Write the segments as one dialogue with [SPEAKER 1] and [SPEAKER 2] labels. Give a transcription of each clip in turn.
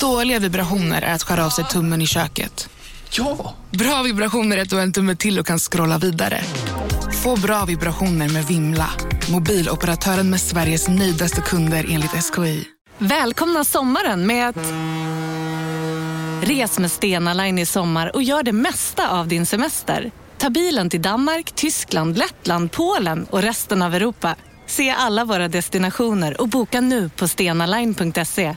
[SPEAKER 1] Dåliga vibrationer är att skära av sig tummen i köket.
[SPEAKER 2] Ja!
[SPEAKER 1] Bra vibrationer är att du har en tumme till och kan scrolla vidare. Få bra vibrationer med Vimla. Mobiloperatören med Sveriges nöjdaste kunder enligt SKI.
[SPEAKER 3] Välkomna sommaren med att... Res med Stena Line i sommar och gör det mesta av din semester. Ta bilen till Danmark, Tyskland, Lettland, Polen och resten av Europa. Se alla våra destinationer och boka nu på stenaline.se.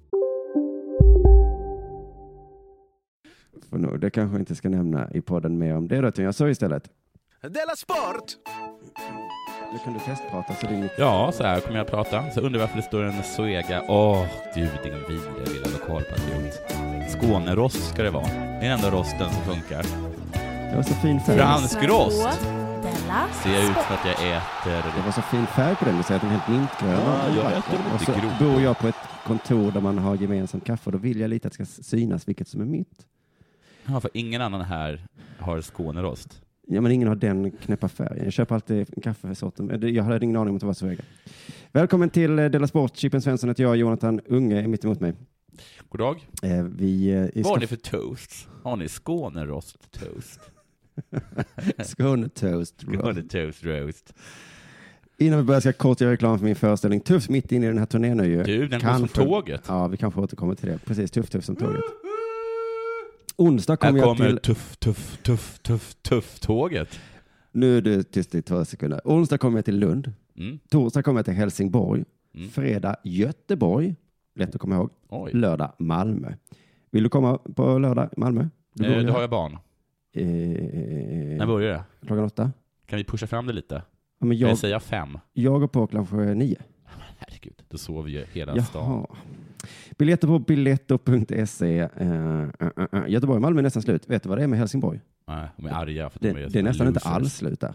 [SPEAKER 4] För nu, det kanske jag inte ska nämna i podden mer om det då, utan jag sa istället,
[SPEAKER 2] Della Sport!
[SPEAKER 4] nu kan du testprata så ringer
[SPEAKER 5] Ja, så här kommer jag att prata. Så undrar varför det står en Zoega. Åh, du din vidriga lilla lokalpatriot. Skånerost ska det vara. Det är den enda rosten som funkar.
[SPEAKER 4] Det var så fin färg.
[SPEAKER 5] Fransk rost
[SPEAKER 6] Della
[SPEAKER 5] ser jag ut
[SPEAKER 6] Sport.
[SPEAKER 5] för att jag äter.
[SPEAKER 4] Det var så fin färg på den, du säger att den är helt mintgrön.
[SPEAKER 5] Ja, jag vet,
[SPEAKER 4] vacker.
[SPEAKER 5] den är
[SPEAKER 4] och
[SPEAKER 5] lite
[SPEAKER 4] så
[SPEAKER 5] grov.
[SPEAKER 4] bor jag på ett kontor där man har gemensamt kaffe och då vill jag lite att det ska synas vilket som är mitt.
[SPEAKER 5] Ja, för ingen annan här har Skånerost.
[SPEAKER 4] Ja, men ingen har den knäppa färgen. Jag köper alltid kaffesorten. Eh, det- Jag hade ingen aning om att det var så ägare. Välkommen till eh, Della Sport. Chippen Svensson heter jag, Jonathan Unge är mitt emot mig.
[SPEAKER 5] God dag.
[SPEAKER 4] Eh, Vi, eh, vi
[SPEAKER 5] Vad har ni
[SPEAKER 4] ska
[SPEAKER 5] för toast? Har ni Skånerost toast?
[SPEAKER 4] Skåne toast.
[SPEAKER 5] Skåne toast roast.
[SPEAKER 4] Innan vi börjar ska jag kort göra reklam för min föreställning Tuff mitt inne i den här turnén nu ju.
[SPEAKER 5] Du, den går som tåget.
[SPEAKER 4] Ja, vi kanske återkommer till det. Precis, Tuff Tuff som tåget. Onsdag
[SPEAKER 5] Här
[SPEAKER 4] kommer jag
[SPEAKER 5] kommer
[SPEAKER 4] till...
[SPEAKER 5] tuff, tuff, tuff, tuff, tuff tåget.
[SPEAKER 4] Nu är du tyst i två sekunder. Onsdag kommer jag till Lund.
[SPEAKER 5] Mm.
[SPEAKER 4] Torsdag kommer jag till Helsingborg.
[SPEAKER 5] Mm.
[SPEAKER 4] Fredag Göteborg. Lätt att komma ihåg.
[SPEAKER 5] Oj.
[SPEAKER 4] Lördag Malmö. Vill du komma på lördag i Malmö? Du bor
[SPEAKER 5] Eh,
[SPEAKER 4] ju
[SPEAKER 5] Då har
[SPEAKER 4] här.
[SPEAKER 5] jag barn.
[SPEAKER 4] Eh,
[SPEAKER 5] När börjar det?
[SPEAKER 4] klockan åtta?
[SPEAKER 5] Kan vi pusha fram det lite?
[SPEAKER 4] Ja, men
[SPEAKER 5] Kan
[SPEAKER 4] jag,
[SPEAKER 5] jag säga fem?
[SPEAKER 4] jag går på kanske nio.
[SPEAKER 5] Herregud, då sover ju hela stan.
[SPEAKER 4] Jaha. Biljetter på biletto.se. Eh, eh, eh, Göteborg och Malmö är nästan slut. Vet du vad det är med Helsingborg?
[SPEAKER 5] Nej, de är arga för att
[SPEAKER 4] Det,
[SPEAKER 5] de är
[SPEAKER 4] det är nästan inte alls slut där.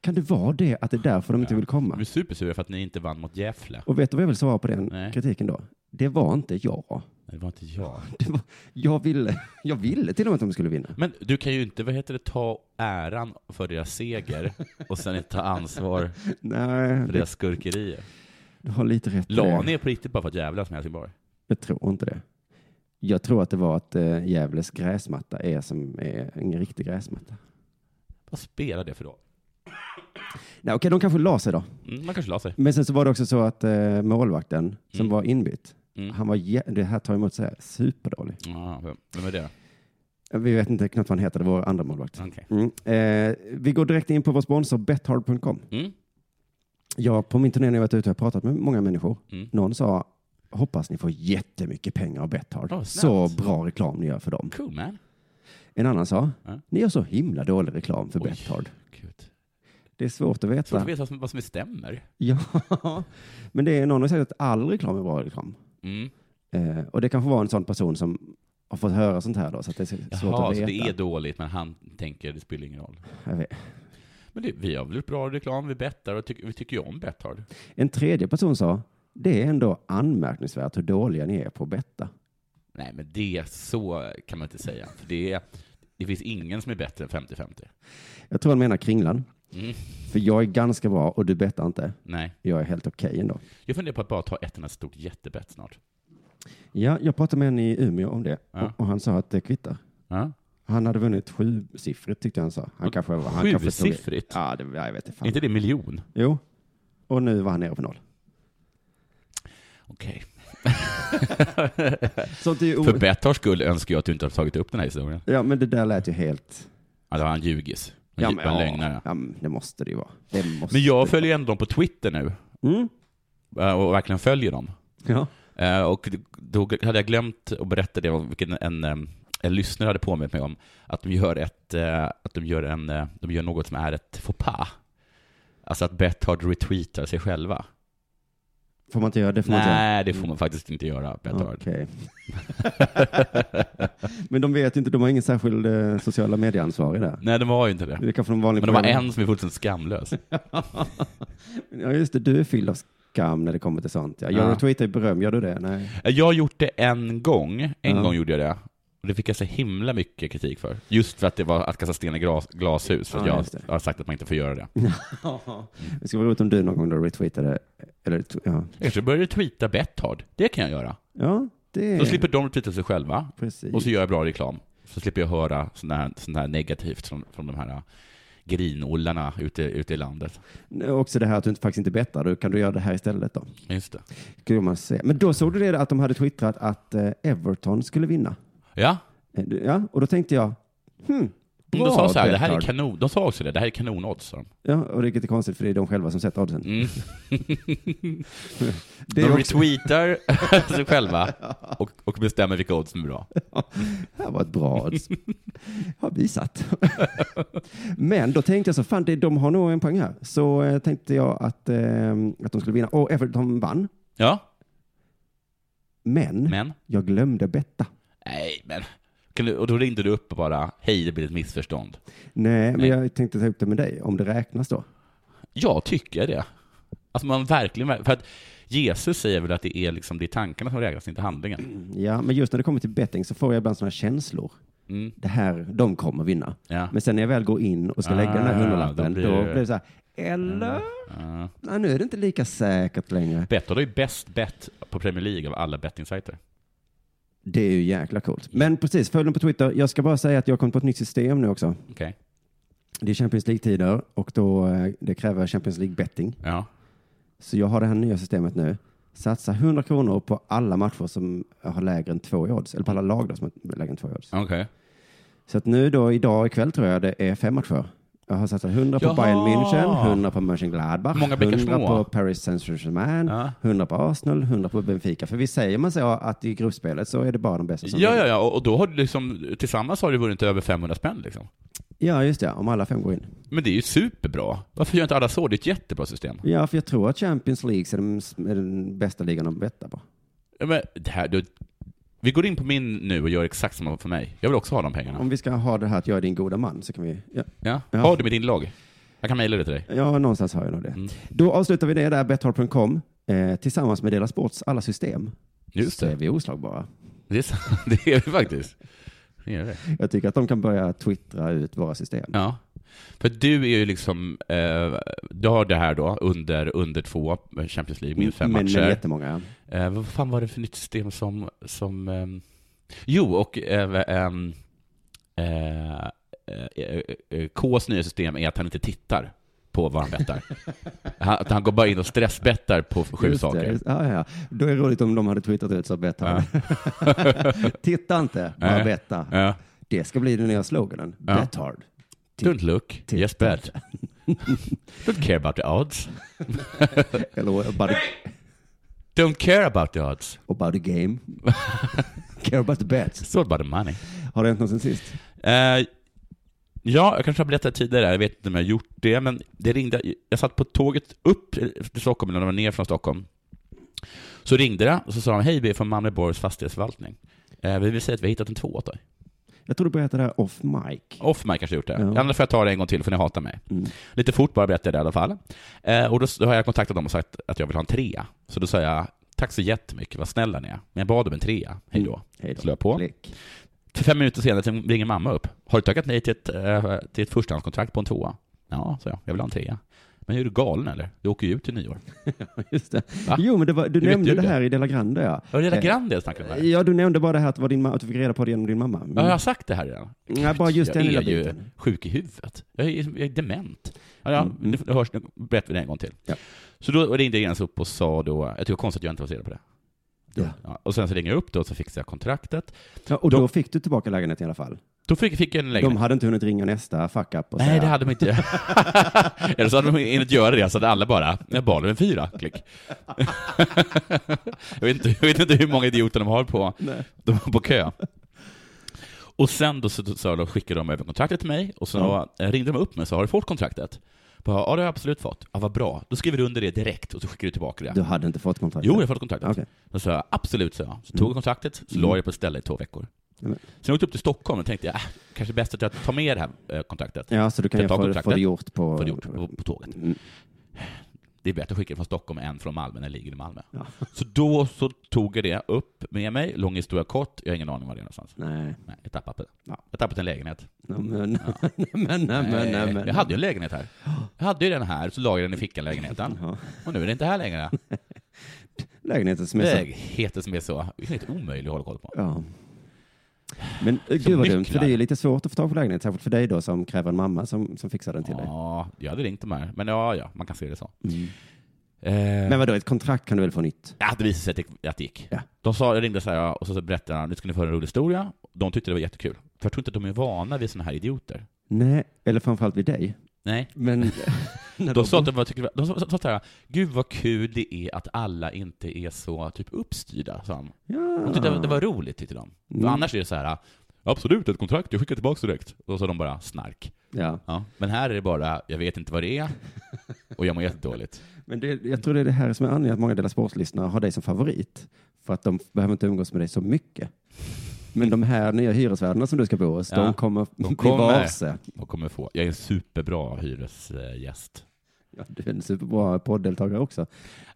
[SPEAKER 4] Kan det vara det, att det är därför de inte
[SPEAKER 5] Ja.
[SPEAKER 4] vill
[SPEAKER 5] De
[SPEAKER 4] komma?
[SPEAKER 5] är supersura för att ni inte vann mot Gävle.
[SPEAKER 4] Och vet du vad jag vill svara på den
[SPEAKER 5] Nej.
[SPEAKER 4] kritiken då? Det var inte jag.
[SPEAKER 5] Det var inte jag.
[SPEAKER 4] Det var, jag, ville, jag ville till och med att de skulle vinna.
[SPEAKER 5] Men du kan ju inte, vad heter det, ta äran för deras seger och sen inte ta ansvar
[SPEAKER 4] Nej,
[SPEAKER 5] för
[SPEAKER 4] det,
[SPEAKER 5] deras skurkerier.
[SPEAKER 4] du har lite rätt. i
[SPEAKER 5] La
[SPEAKER 4] det.
[SPEAKER 5] ni er på riktigt bara för att jävlas med Helsingborg?
[SPEAKER 4] Jag tror inte det. Jag tror att det var att eh, Gävles gräsmatta är som är en riktig gräsmatta.
[SPEAKER 5] Vad spelar det för roll?
[SPEAKER 4] Nej, okej, de kanske la sig då.
[SPEAKER 5] Mm, man kanske la sig.
[SPEAKER 4] Men sen så var det också så att eh, målvakten som
[SPEAKER 5] Mm.
[SPEAKER 4] var inbytt,
[SPEAKER 5] Mm.
[SPEAKER 4] han var, jä- det här tar emot så här, superdålig.
[SPEAKER 5] Ah, vem- vem är det?
[SPEAKER 4] Vi vet inte knappt vad han heter, det var vår andra målvakt.
[SPEAKER 5] Okej.
[SPEAKER 4] Mm. Eh, vi går direkt in på vår sponsor bethard.com.
[SPEAKER 5] Mm.
[SPEAKER 4] Jag, på min turné när jag varit ute har jag pratat med många människor.
[SPEAKER 5] Mm.
[SPEAKER 4] Någon sa, hoppas ni får jättemycket pengar av Bethard.
[SPEAKER 5] Åh,
[SPEAKER 4] så
[SPEAKER 5] snällt.
[SPEAKER 4] bra reklam ni gör för dem.
[SPEAKER 5] Cool man.
[SPEAKER 4] En annan sa,
[SPEAKER 5] Ja.
[SPEAKER 4] ni gör så himla dålig reklam för
[SPEAKER 5] Oj.
[SPEAKER 4] Bethard.
[SPEAKER 5] Gud.
[SPEAKER 4] Det är svårt att veta.
[SPEAKER 5] Svårt att veta vad som, vad som stämmer.
[SPEAKER 4] Ja, men det är någon som säger att all reklam är bra reklam.
[SPEAKER 5] Mm.
[SPEAKER 4] Eh, och det kanske var en sån person som har fått höra sånt här då, så att det är svårt
[SPEAKER 5] Jaha,
[SPEAKER 4] att veta.
[SPEAKER 5] så det är dåligt, men han tänker det spelar ingen roll.
[SPEAKER 4] Jag vet.
[SPEAKER 5] Men det, vi har väl gjort bra reklam, vi bettar och tycker- vi tycker ju om Betthard.
[SPEAKER 4] En tredje person sa, det är ändå anmärkningsvärt hur dåliga ni är på att betta.
[SPEAKER 5] Nej, men det så kan man inte säga. För det, är- det finns ingen som är bättre än 50-50.
[SPEAKER 4] Jag tror han menar kringlan.
[SPEAKER 5] Mm.
[SPEAKER 4] För jag är ganska bra och du bettar inte.
[SPEAKER 5] Nej.
[SPEAKER 4] Jag är helt okej ändå.
[SPEAKER 5] Jag funderar på att bara ta ett enda stort jättebett snart.
[SPEAKER 4] Ja, jag pratade med en i Umeå om det
[SPEAKER 5] Ja.
[SPEAKER 4] och, och han sa att det kvittar.
[SPEAKER 5] Ja.
[SPEAKER 4] Han hade vunnit sjusiffrigt tyckte jag han sa. Han kanske, han kanske tog-
[SPEAKER 5] Sjusiffrigt?
[SPEAKER 4] Ja, det, jag vet inte.
[SPEAKER 5] Är
[SPEAKER 4] Fan.
[SPEAKER 5] inte det miljon?
[SPEAKER 4] Jo, och nu var han nere på noll.
[SPEAKER 5] Okej.
[SPEAKER 4] Sånt är ju o-
[SPEAKER 5] För Betthards skull önskar jag att du inte har tagit upp den här historien.
[SPEAKER 4] Ja, men det där lät ju helt...
[SPEAKER 5] Alltså, han ljugis. En djupa lögnare.
[SPEAKER 4] ja, men det måste det ju vara. Det måste
[SPEAKER 5] Men jag
[SPEAKER 4] det
[SPEAKER 5] följer ändå dem på Twitter nu.
[SPEAKER 4] Mm.
[SPEAKER 5] eh, Och verkligen följer dem.
[SPEAKER 4] Ja.
[SPEAKER 5] Eh, Och då hade jag glömt att berätta det, om vilken en, eh, en lyssnare hade påmint mig om, att de gör, ett, eh, att de gör, en, eh, de gör något som är ett faux pas. Alltså att Bethard retweetar sig själva.
[SPEAKER 4] Får man inte göra det? Får man
[SPEAKER 5] Nej, det får man faktiskt inte göra,
[SPEAKER 4] inte
[SPEAKER 5] Petter.
[SPEAKER 4] göra. Okej. Men de vet inte, de har ingen särskild eh, sociala medieansvarig där.
[SPEAKER 5] Nej, de var ju inte det.
[SPEAKER 4] Det är kanske de vanliga
[SPEAKER 5] Men det var
[SPEAKER 4] programmen-
[SPEAKER 5] en som är fullständigt skamlös. Eh,
[SPEAKER 4] Ja just det, du är fylld av skam när det kommer till sånt. Ja. Jag
[SPEAKER 5] Ja.
[SPEAKER 4] tweetar ju beröm, gör du det? Nej.
[SPEAKER 5] Jag har gjort det en gång. En
[SPEAKER 4] Ja.
[SPEAKER 5] gång gjorde jag det. Och det fick jag så himla mycket kritik för. Just för att det var att kasta sten i glas, glashus. För att
[SPEAKER 4] Ja, just det.
[SPEAKER 5] jag har sagt att man inte får göra det.
[SPEAKER 4] Det skulle vara roligt om du någon gång då retweetade, eller tw- ja.
[SPEAKER 5] Jag kanske börjar tweeta Betthard. Det kan jag göra.
[SPEAKER 4] Ja, det
[SPEAKER 5] Då slipper de tweeta sig själva.
[SPEAKER 4] Precis.
[SPEAKER 5] Och så gör jag bra reklam. Så slipper jag höra sånt här, sån här negativt från, från de här äh, grinollarna ute, ute i landet.
[SPEAKER 4] Också det här att du inte, faktiskt inte bettar, du kan du göra det här istället då?
[SPEAKER 5] Just det.
[SPEAKER 4] Skulle man säga. Men då såg du det att de hade twittrat att eh, Everton skulle vinna.
[SPEAKER 5] Ja,
[SPEAKER 4] Eh, du- Ja, och då tänkte jag, hmm,
[SPEAKER 5] de
[SPEAKER 4] bra,
[SPEAKER 5] sa så här, det här är
[SPEAKER 4] Bethard."
[SPEAKER 5] kanon, de sa också det, det här är kanonodds. sa de.
[SPEAKER 4] Ja, och vilket är konstigt för det är de själva som sett oddsen.
[SPEAKER 5] Mm.
[SPEAKER 4] Det
[SPEAKER 5] De
[SPEAKER 4] är också,
[SPEAKER 5] retweetar sig själva och, och bestämmer vilka odds som är bra.
[SPEAKER 4] det här var ett bra odds. Har vi satt. Men då tänkte jag så, fan det, de har nog en poäng här. Så eh, tänkte jag att, eh, att de skulle vinna. Och Everton vann.
[SPEAKER 5] Ja,
[SPEAKER 4] Men,
[SPEAKER 5] men?
[SPEAKER 4] jag glömde betta.
[SPEAKER 5] Nej, men. Kan du, och då ringde du upp och bara, hej, det blir ett missförstånd.
[SPEAKER 4] Nej, men
[SPEAKER 5] Nej.
[SPEAKER 4] jag tänkte ta upp det med dig, om det räknas då.
[SPEAKER 5] Jag tycker det. Alltså man verkligen, för att Jesus säger väl att det är liksom, det är tankarna som räknas, inte handlingen.
[SPEAKER 4] Ja, men just när det kommer till betting så får jag ibland sådana känslor.
[SPEAKER 5] Mm.
[SPEAKER 4] Det här, de kommer vinna.
[SPEAKER 5] Ja.
[SPEAKER 4] Men sen när jag väl går in och ska
[SPEAKER 5] Ah,
[SPEAKER 4] lägga den här hundralappen,
[SPEAKER 5] då
[SPEAKER 4] då
[SPEAKER 5] blir
[SPEAKER 4] blir,
[SPEAKER 5] det-
[SPEAKER 4] det så här, eller?
[SPEAKER 5] Uh,
[SPEAKER 4] Nej, nu är det inte lika säkert längre.
[SPEAKER 5] Betthard har ju bäst bett på Premier League av alla bettingsajter.
[SPEAKER 4] Det är ju jäkla coolt.
[SPEAKER 5] Mm.
[SPEAKER 4] Men precis, följ dem på Twitter. Jag ska bara säga att jag har kommit på ett nytt system nu också.
[SPEAKER 5] Okej.
[SPEAKER 4] Det är Champions League-tider och då, eh, det kräver Champions League-betting.
[SPEAKER 5] Ja.
[SPEAKER 4] Så jag har det här nya systemet nu. Satsa 100 kronor på alla matcher som har lägre än två i odds, eller på alla lag då som har lägre än två i odds.
[SPEAKER 5] Okej.
[SPEAKER 4] Så att nu då idag ikväll tror jag det är fem matcher. Jag har satsat 100 på
[SPEAKER 5] Jaha.
[SPEAKER 4] Bayern München, 100 på Mönchengladbach,
[SPEAKER 5] Många bäckar
[SPEAKER 4] 100
[SPEAKER 5] små.
[SPEAKER 4] på Paris Saint-Germain,
[SPEAKER 5] Ja.
[SPEAKER 4] 100 på Arsenal, 100 på Benfica. För vi säger man så att i gruppspelet så är det bara de bästa som
[SPEAKER 5] Ja,
[SPEAKER 4] vinner.
[SPEAKER 5] ja, ja, och och då har du liksom, tillsammans har du vunnit över 500 spänn liksom.
[SPEAKER 4] ja, just det. Om alla fem går in.
[SPEAKER 5] Men det är ju superbra. Varför gör inte alla så? Det är ett jättebra system.
[SPEAKER 4] Ja, för jag tror att Champions League är den, är den bästa ligan att betta på.
[SPEAKER 5] Ja, Men det här, du, vi går in på min nu och gör exakt samma för mig. Jag vill också ha de pengarna.
[SPEAKER 4] Om vi ska ha det här att jag är din goda man så kan vi... Ja,
[SPEAKER 5] Ja.
[SPEAKER 4] Ja.
[SPEAKER 5] Har du mitt inlogg? Jag kan mejla det till dig.
[SPEAKER 4] ja någonstans har jag nog det.
[SPEAKER 5] Mm.
[SPEAKER 4] Då avslutar vi det där, betthard.com, eh, tillsammans med Dela Sports alla system.
[SPEAKER 5] Just
[SPEAKER 4] Så är
[SPEAKER 5] det.
[SPEAKER 4] vi oslagbara.
[SPEAKER 5] Det är, sant. det är vi faktiskt. Det är det.
[SPEAKER 4] Jag tycker att de kan börja twittra ut våra system.
[SPEAKER 5] Ja. För du är ju liksom, eh, du har det här då under, under två Champions League, minst fem
[SPEAKER 4] men,
[SPEAKER 5] matcher.
[SPEAKER 4] Men jättemånga.
[SPEAKER 5] Eh, vad fan var det för nytt system som... som ehm, jo, och eh, ehm, eh, eh, eh, Ks nya system är att han inte tittar på vad han bettar. han, att han går bara in och stressbettar på sju
[SPEAKER 4] Just det,
[SPEAKER 5] saker.
[SPEAKER 4] just- Ja, ja. Då är det roligt om de hade twittrat ut så betta. Titta inte, bara
[SPEAKER 5] Nej.
[SPEAKER 4] betta.
[SPEAKER 5] Ja.
[SPEAKER 4] Det ska bli den nya sloganen.
[SPEAKER 5] Ja.
[SPEAKER 4] Bet hard.
[SPEAKER 5] Don't look, yes bet. Don't care about the odds.
[SPEAKER 4] Eller about the,
[SPEAKER 5] Don't care about the odds.
[SPEAKER 4] about the game. Care about the bets.
[SPEAKER 5] It's all about the money.
[SPEAKER 4] Har det hänt något sen sist?
[SPEAKER 5] Eh, ja, jag kanske har berättat tidigare, jag vet inte om jag har gjort det, men det ringde, jag satt på tåget upp till Stockholm, eller när jag var ner från Stockholm. Så ringde det, och så sa de, hej vi är från Malmö Borgs fastighetsförvaltning. Eh, vi vill säga att vi har hittat en två åt dig.
[SPEAKER 4] Jag tror du berättade det här off mic. Mm.
[SPEAKER 5] Off mig kanske gjort det.
[SPEAKER 4] Ja.
[SPEAKER 5] Annars får jag ta det en gång till, för ni hatar mig. Lite fort bara berättade jag det i alla fall. Eh, och då, s- då har jag kontaktat dem och sagt att jag vill ha en trea. Så då sa jag, tack så jättemycket, vad snälla ni är. Men jag bad om en trea, hej då.
[SPEAKER 4] Hej då.
[SPEAKER 5] Slå på.
[SPEAKER 4] Klick.
[SPEAKER 5] För fem minuter senare sen ringer mamma upp. Har du tackat nej till ett, eh, till ett förstahandskontrakt på en tvåa? Ja, sa jag. Jag vill ha en trea. Men är du galen eller? Du åker ju ut till nyår.
[SPEAKER 4] Just det.
[SPEAKER 5] Va?
[SPEAKER 4] Jo, men det var, du
[SPEAKER 5] Hur vet
[SPEAKER 4] nämnde
[SPEAKER 5] du
[SPEAKER 4] det
[SPEAKER 5] det?
[SPEAKER 4] här i Dela Grande. Ja.
[SPEAKER 5] Var det Reda
[SPEAKER 4] Eh,
[SPEAKER 5] Grande jag snackade om här?
[SPEAKER 4] Ja, du nämnde bara det här att, det var din ma- att du fick reda på det genom din mamma. Mm.
[SPEAKER 5] Ja, jag har sagt det här redan.
[SPEAKER 4] Nej, bara just den
[SPEAKER 5] jag
[SPEAKER 4] lilla
[SPEAKER 5] är ju
[SPEAKER 4] biten.
[SPEAKER 5] sjuk i huvudet. Jag är, jag är dement. Ja, ja,
[SPEAKER 4] Mm.
[SPEAKER 5] nu hörs, nu berättar vi det en gång till.
[SPEAKER 4] Ja.
[SPEAKER 5] Så då ringde jag upp och sa då, jag tycker det var konstigt att jag inte var så reda på det.
[SPEAKER 4] Ja.
[SPEAKER 5] Ja, och sen så ringer jag upp då och så fixade jag kontraktet.
[SPEAKER 4] Ja, och
[SPEAKER 5] De-
[SPEAKER 4] då fick du tillbaka lägenheten i alla fall.
[SPEAKER 5] Då fick, fick jag en lägenhet.
[SPEAKER 4] De hade inte hunnit ringa nästa fuck up och
[SPEAKER 5] Nej,
[SPEAKER 4] säga,
[SPEAKER 5] det hade de inte. Eller så hade de inte göra det, så hade alla bara, jag bad om en fyra, klick. jag, vet inte, jag vet inte hur många idioter de har på, de har på kö. Och sen då så, så, så skickade de över kontraktet till mig, och så ringde de upp mig och sa, har du fått kontraktet? Bara, ja, det har jag absolut fått. Ja, vad bra. Då skriver du under det direkt och så skickar du tillbaka det. Mm.
[SPEAKER 4] Du hade inte fått kontraktet?
[SPEAKER 5] Jo, jag har fått kontraktet.
[SPEAKER 4] Okej.
[SPEAKER 5] Då sa jag absolut, sa jag. Så tog jag kontraktet, så la jag på ett ställe i två veckor.
[SPEAKER 4] Mm.
[SPEAKER 5] Sen åkte jag upp till Stockholm och tänkte, äh, kanske bäst att jag tar med det här eh, kontraktet.
[SPEAKER 4] Ja, så du kan
[SPEAKER 5] Ska
[SPEAKER 4] ju
[SPEAKER 5] jag ta
[SPEAKER 4] få, få
[SPEAKER 5] kontraktet?
[SPEAKER 4] det gjort på...
[SPEAKER 5] För det gjort på, på tåget.
[SPEAKER 4] Mm.
[SPEAKER 5] Det är bättre att skicka från Stockholm än från Malmö när det ligger i Malmö. Så då så tog jag det upp med mig, lång historia kort, jag har ingen aning var det är någonstans.
[SPEAKER 4] Nej.
[SPEAKER 5] Nej, jag tappade det.
[SPEAKER 4] Ja.
[SPEAKER 5] Jag tappade en lägenhet.
[SPEAKER 4] Nej, men, nej, men, nej, men, nej, men.
[SPEAKER 5] jag hade ju en lägenhet här. Jag hade ju den här, så la jag den i fickan, lägenheten.
[SPEAKER 4] Ja.
[SPEAKER 5] Och nu är det inte här längre.
[SPEAKER 4] Lägenheten som är så...
[SPEAKER 5] Lägenheten som är så helt omöjlig att hålla koll på.
[SPEAKER 4] Ja. Men eh, gud vad dumt, för
[SPEAKER 5] nycklar.
[SPEAKER 4] det är ju lite svårt att få tag på lägenhet, särskilt för dig då som kräver en mamma som, som fixar den till dig. Mm.
[SPEAKER 5] Ja, jag hade ringt dem här. Men ja, ja, man kan se det så. Eh,
[SPEAKER 4] Men vadå, ett kontrakt kan du väl få nytt?
[SPEAKER 5] Ja, det visade sig att det- att det gick.
[SPEAKER 4] Ja.
[SPEAKER 5] De sa, jag ringde så här, ja, och så berättade han, nu ska ni få höra en rolig historia. De tyckte det var jättekul. För jag tror inte att de är vana vid sådana här idioter.
[SPEAKER 4] Nej, eller framförallt vid dig.
[SPEAKER 5] Nej.
[SPEAKER 4] Men... när
[SPEAKER 5] De sa att de, var, tyckte, de sa, sa, sa så här, gud vad kul det är att alla inte är så typ uppstyrda, sa han. De
[SPEAKER 4] Ja.
[SPEAKER 5] tyckte det, var- det var roligt, tyckte de. För
[SPEAKER 4] Mm.
[SPEAKER 5] annars är det så här, absolut ett kontrakt, jag skickar tillbaka direkt. Och så sa de bara, snark.
[SPEAKER 4] ja.
[SPEAKER 5] Ja. Men här är det bara, jag vet inte vad det är, och jag mår jättedåligt.
[SPEAKER 4] Men det, jag tror det är det här som är anledningen att många Della Sports-lyssnare har dig som favorit. För att de behöver inte umgås med dig så mycket. Men de här nya hyresvärdarna som du ska bo hos,
[SPEAKER 5] Ja,
[SPEAKER 4] de kommer bli
[SPEAKER 5] kommer.
[SPEAKER 4] varse.
[SPEAKER 5] Och kommer få, jag är en superbra hyresgäst.
[SPEAKER 4] Ja, du är en superbra poddeltagare också.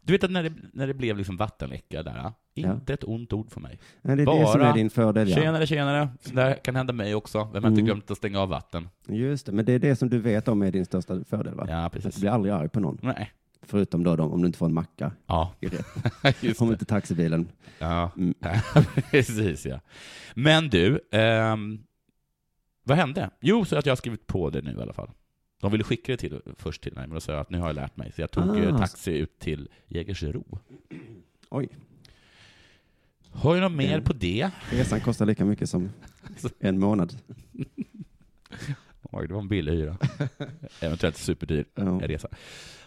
[SPEAKER 5] Du vet att när det, när det blev liksom vattenläcka där, ah,
[SPEAKER 4] Ja.
[SPEAKER 5] inte ett ont ord för mig.
[SPEAKER 4] Nej, det är det som
[SPEAKER 5] Bara
[SPEAKER 4] är din fördel. Ja. Mm.
[SPEAKER 5] Tjenare, tjenare, så där kan hända mig också. Vem har inte glömt att stänga av vatten?
[SPEAKER 4] Just det, men det är det som du vet om är din största fördel va?
[SPEAKER 5] Ja,
[SPEAKER 4] Att du
[SPEAKER 5] precis.
[SPEAKER 4] blir aldrig arg på någon.
[SPEAKER 5] Nej.
[SPEAKER 4] Förutom då de, om du inte får en macka.
[SPEAKER 5] Ja,
[SPEAKER 4] i det.
[SPEAKER 5] just
[SPEAKER 4] Om
[SPEAKER 5] det.
[SPEAKER 4] inte taxibilen.
[SPEAKER 5] Ja,
[SPEAKER 4] Mm.
[SPEAKER 5] precis ja. Men du, ehm, vad hände? Jo, så att jag har skrivit på det nu i alla fall. De ville skicka det till, först till mig, men då sa jag att nu har jag lärt mig. Så jag tog
[SPEAKER 4] Ah.
[SPEAKER 5] eh, taxi ut till Jägersro.
[SPEAKER 4] Oj,
[SPEAKER 5] Har jag något mer
[SPEAKER 4] Mm.
[SPEAKER 5] på det?
[SPEAKER 4] resan kostar lika mycket som en månad.
[SPEAKER 5] Oj, det var en billig hyra. Eventuellt superdyr
[SPEAKER 4] Ja.
[SPEAKER 5] resa.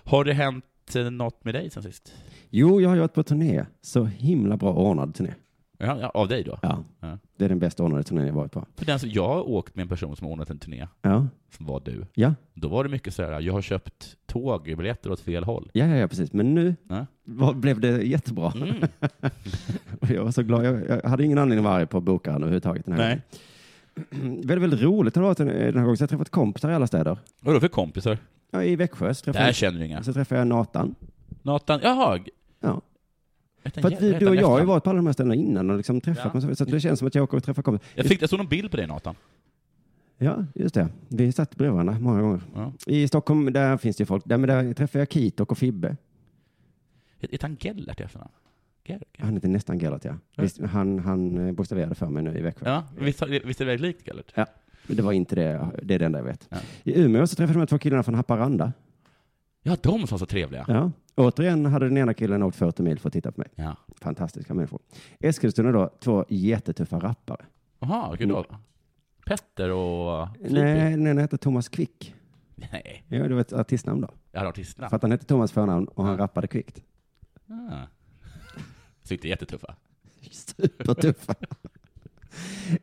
[SPEAKER 5] Har det hänt eh, något med dig sen sist?
[SPEAKER 4] Jo, jag har ju varit på turné. Så himla bra ordnad turné.
[SPEAKER 5] Ja, ja, av dig då?
[SPEAKER 4] Ja.
[SPEAKER 5] Ja.
[SPEAKER 4] Det är den bästa ordnade turnén jag varit på.
[SPEAKER 5] För den, som- jag har åkt med en person som har ordnat en turné,
[SPEAKER 4] Ja,
[SPEAKER 5] som var du.
[SPEAKER 4] ja,
[SPEAKER 5] Då var det mycket så här, jag har köpt tågbiljetter åt fel håll.
[SPEAKER 4] ja, ja, ja precis. Men nu
[SPEAKER 5] Ja.
[SPEAKER 4] var, blev det jättebra.
[SPEAKER 5] Mm.
[SPEAKER 4] Och Jag var så glad. Jag, jag hade ingen anledning att vara arg på bokaren överhuvudtaget den här
[SPEAKER 5] Nej.
[SPEAKER 4] gången. Mm, Väldigt, väldigt roligt har det varit den, den här gången. Så jag har träffat kompisar i alla städer.
[SPEAKER 5] Vadå för kompisar?
[SPEAKER 4] Ja, I Växjö så
[SPEAKER 5] Där
[SPEAKER 4] träffade,
[SPEAKER 5] känner du inga.
[SPEAKER 4] jag, så träffade jag Nathan.
[SPEAKER 5] Nathan, jaha.
[SPEAKER 4] Ja.
[SPEAKER 5] Jag tänkte,
[SPEAKER 4] För att vi,
[SPEAKER 5] jag
[SPEAKER 4] du och jag har ju
[SPEAKER 5] heter
[SPEAKER 4] varit på alla de här ställena innan och liksom
[SPEAKER 5] Ja.
[SPEAKER 4] träffat ja. så att det känns som att jag åker och träffar kompisar.
[SPEAKER 5] Jag, fick, jag såg någon bild på dig Nathan.
[SPEAKER 4] Ja, just det. Vi satt bredvid varandra många gånger.
[SPEAKER 5] Ja.
[SPEAKER 4] I Stockholm, där finns det ju folk. Där, men där träffade jag Kitok och Fibbe.
[SPEAKER 5] Heter han Gellert i efternamn? Ger- Ger-
[SPEAKER 4] Han heter nästan Gellert, ja. Visst, han, han eh, bokstaverade för mig nu i Växjö.
[SPEAKER 5] Ja, visst, har- visst är det väldigt likt Gellert?
[SPEAKER 4] Ja, men det var inte det. Det är det enda jag vet.
[SPEAKER 5] Ja.
[SPEAKER 4] I Umeå så träffade jag de här två killarna från Haparanda.
[SPEAKER 5] Ja, de som var så trevliga.
[SPEAKER 4] Ja. Återigen hade den ena killen åkt 40 mil för att titta på mig.
[SPEAKER 5] Ja.
[SPEAKER 4] Fantastiska människor. Eskilstuna då, två jättetuffa rappare.
[SPEAKER 5] Jaha, kul då. Petter och...
[SPEAKER 4] Mm. Nej, den ena hette Thomas Quick.
[SPEAKER 5] Nej,
[SPEAKER 4] Ja, det var ett artistnamn då.
[SPEAKER 5] jag hade artisterna.
[SPEAKER 4] För att han hette Thomas förnamn och han rappade kvickt.
[SPEAKER 5] Ah. Tyckte jättetuffa. typ.
[SPEAKER 4] Supertuffa.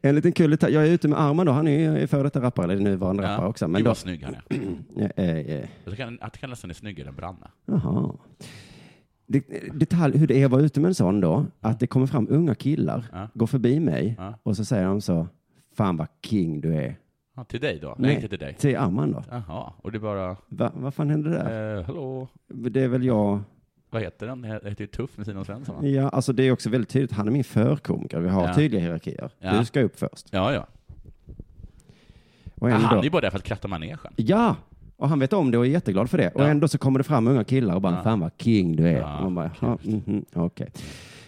[SPEAKER 4] En liten kul detalj. Jag är ute med Arman då. Han är ju före detta rappare, eller nuvarande rappare också. Men
[SPEAKER 5] Gud
[SPEAKER 4] då,
[SPEAKER 5] vad snygg han är.
[SPEAKER 4] eh, eh, eh.
[SPEAKER 5] Jag tycker han- jag tycker han nästan är snyggare än Branna.
[SPEAKER 4] Jaha. Det- Detalj hur det är att vara ute med en sån då, att det kommer fram unga killar,
[SPEAKER 5] Ja.
[SPEAKER 4] går förbi mig
[SPEAKER 5] Ja.
[SPEAKER 4] och så säger de så, fan vad king du är.
[SPEAKER 5] Ja, till dig då? Nej, inte till dig.
[SPEAKER 4] Till Arman då.
[SPEAKER 5] Jaha, och det är bara...
[SPEAKER 4] Va, vad fan hände där?
[SPEAKER 5] Eh, hallå?
[SPEAKER 4] Det är väl jag.
[SPEAKER 5] Vad heter den? Jag heter ju Tuff med Simon Svensson va?
[SPEAKER 4] Ja, alltså det är också väldigt tydligt. Han är min förkomiker. Vi har
[SPEAKER 5] Ja.
[SPEAKER 4] tydliga hierarkier.
[SPEAKER 5] Ja.
[SPEAKER 4] Du ska upp först.
[SPEAKER 5] Ja, ja.
[SPEAKER 4] Och
[SPEAKER 5] Ah,
[SPEAKER 4] ändå,
[SPEAKER 5] han är ju bara där för att kratta manegen.
[SPEAKER 4] Ja, och han vet om det och är jätteglad för det. Och
[SPEAKER 5] Ja.
[SPEAKER 4] ändå så kommer det fram unga killar och bara, fan vad king du är.
[SPEAKER 5] Ja,
[SPEAKER 4] och man bara, "Jaha, mhm, okej.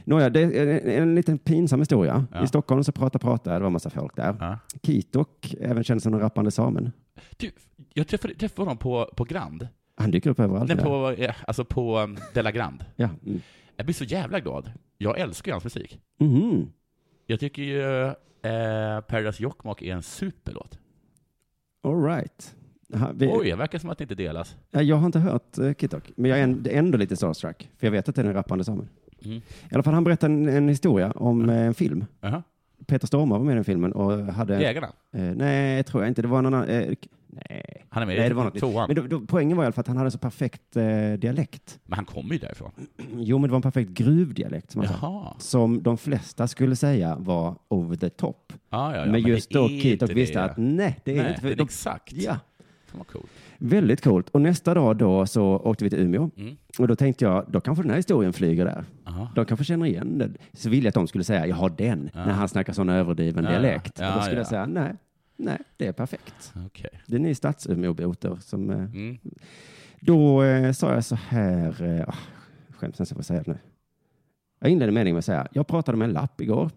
[SPEAKER 4] Nåja, det är en, en liten pinsam historia.
[SPEAKER 5] Ja.
[SPEAKER 4] I Stockholm så prata, prata, det var massa folk där.
[SPEAKER 5] Ja.
[SPEAKER 4] Kitok, även känd som den rappande samen.
[SPEAKER 5] Du, jag träffade, träffade honom på, på Grand.
[SPEAKER 4] Han dyker upp överallt.
[SPEAKER 5] Nej,
[SPEAKER 4] ja.
[SPEAKER 5] på, eh, alltså på um, Della Grand.
[SPEAKER 4] Ja. Mm.
[SPEAKER 5] Jag blir så jävla glad. Jag älskar ju hans musik.
[SPEAKER 4] Mhm.
[SPEAKER 5] Jag tycker ju eh, Paradise Jokkmokk är en superlåt.
[SPEAKER 4] All right. Ha- Vi,
[SPEAKER 5] Oj, det verkar som att det inte delas.
[SPEAKER 4] Ja, Jag har inte hört eh, Kitok, men jag är änd- ändå lite starstruck, för jag vet att det är den rappande samen.
[SPEAKER 5] Mm.
[SPEAKER 4] I alla fall, han berättade en, en historia om eh, en film.
[SPEAKER 5] Jaha.
[SPEAKER 4] Peter Stormare var med i den filmen och hade...
[SPEAKER 5] Jägarna.
[SPEAKER 4] Eh, nej, tror jag inte. Det var någon annan. Eh, k- nej.
[SPEAKER 5] Han Han är med
[SPEAKER 4] Nej,
[SPEAKER 5] i typ
[SPEAKER 4] det var något nytt.
[SPEAKER 5] tvåan.
[SPEAKER 4] Men då, då, poängen var i alla fall att han hade så perfekt eh, dialekt.
[SPEAKER 5] Men han kommer ju därifrån.
[SPEAKER 4] Jo, men det var en perfekt gruvdialekt som han sa.
[SPEAKER 5] Jaha.
[SPEAKER 4] Som de flesta skulle säga var over the top.
[SPEAKER 5] Ja, ja, ja,
[SPEAKER 4] men just
[SPEAKER 5] det
[SPEAKER 4] då
[SPEAKER 5] är
[SPEAKER 4] Keith
[SPEAKER 5] inte
[SPEAKER 4] och visste
[SPEAKER 5] det.
[SPEAKER 4] att nej, det är
[SPEAKER 5] Nej,
[SPEAKER 4] inte
[SPEAKER 5] det är
[SPEAKER 4] de-
[SPEAKER 5] exakt.
[SPEAKER 4] Ja,
[SPEAKER 5] Fan vad coolt.
[SPEAKER 4] väldigt coolt. Och nästa dag då så åkte vi till Umeå
[SPEAKER 5] Mm.
[SPEAKER 4] och då tänkte jag, då kanske den här historien flyger där.
[SPEAKER 5] Aha.
[SPEAKER 4] De kanske känner igen den. Så ville jag att de skulle säga, jag har den, när han snackar sån överdriven
[SPEAKER 5] Ja, ja.
[SPEAKER 4] dialekt.
[SPEAKER 5] Ja,
[SPEAKER 4] och då skulle
[SPEAKER 5] ja.
[SPEAKER 4] jag säga, nej, nej, det är perfekt.
[SPEAKER 5] Okej.
[SPEAKER 4] Det är ni stadsumeboter som... eh,
[SPEAKER 5] Mm.
[SPEAKER 4] Då eh, sa jag så här, eh, ah, skäms nästan för att säga det nu. Jag inledde meningen med att säga, jag pratade med en lapp igår.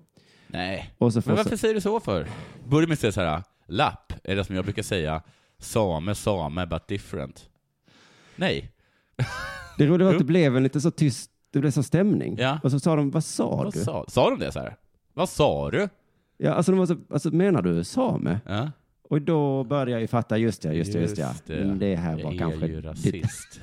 [SPEAKER 5] Nej.
[SPEAKER 4] Och så får
[SPEAKER 5] Men
[SPEAKER 4] så,
[SPEAKER 5] varför säger du så för? Börja med att säga så här, lapp, eller som jag brukar säga, same, same, but different. Nej.
[SPEAKER 4] det roliga var att det blev en lite så tyst, det blev så stämning.
[SPEAKER 5] Ja.
[SPEAKER 4] Och så sa de, vad sa
[SPEAKER 5] Vad
[SPEAKER 4] du?
[SPEAKER 5] sa, sa de det så här? Vad sa du?
[SPEAKER 4] Ja, alltså, de var så, alltså, menar du same?
[SPEAKER 5] Ja.
[SPEAKER 4] Och då började jag ju fatta, just det, just det, just det. ja. Mm, det här
[SPEAKER 5] jag
[SPEAKER 4] var
[SPEAKER 5] är
[SPEAKER 4] kanske...
[SPEAKER 5] ju
[SPEAKER 4] ditt-
[SPEAKER 5] rasist.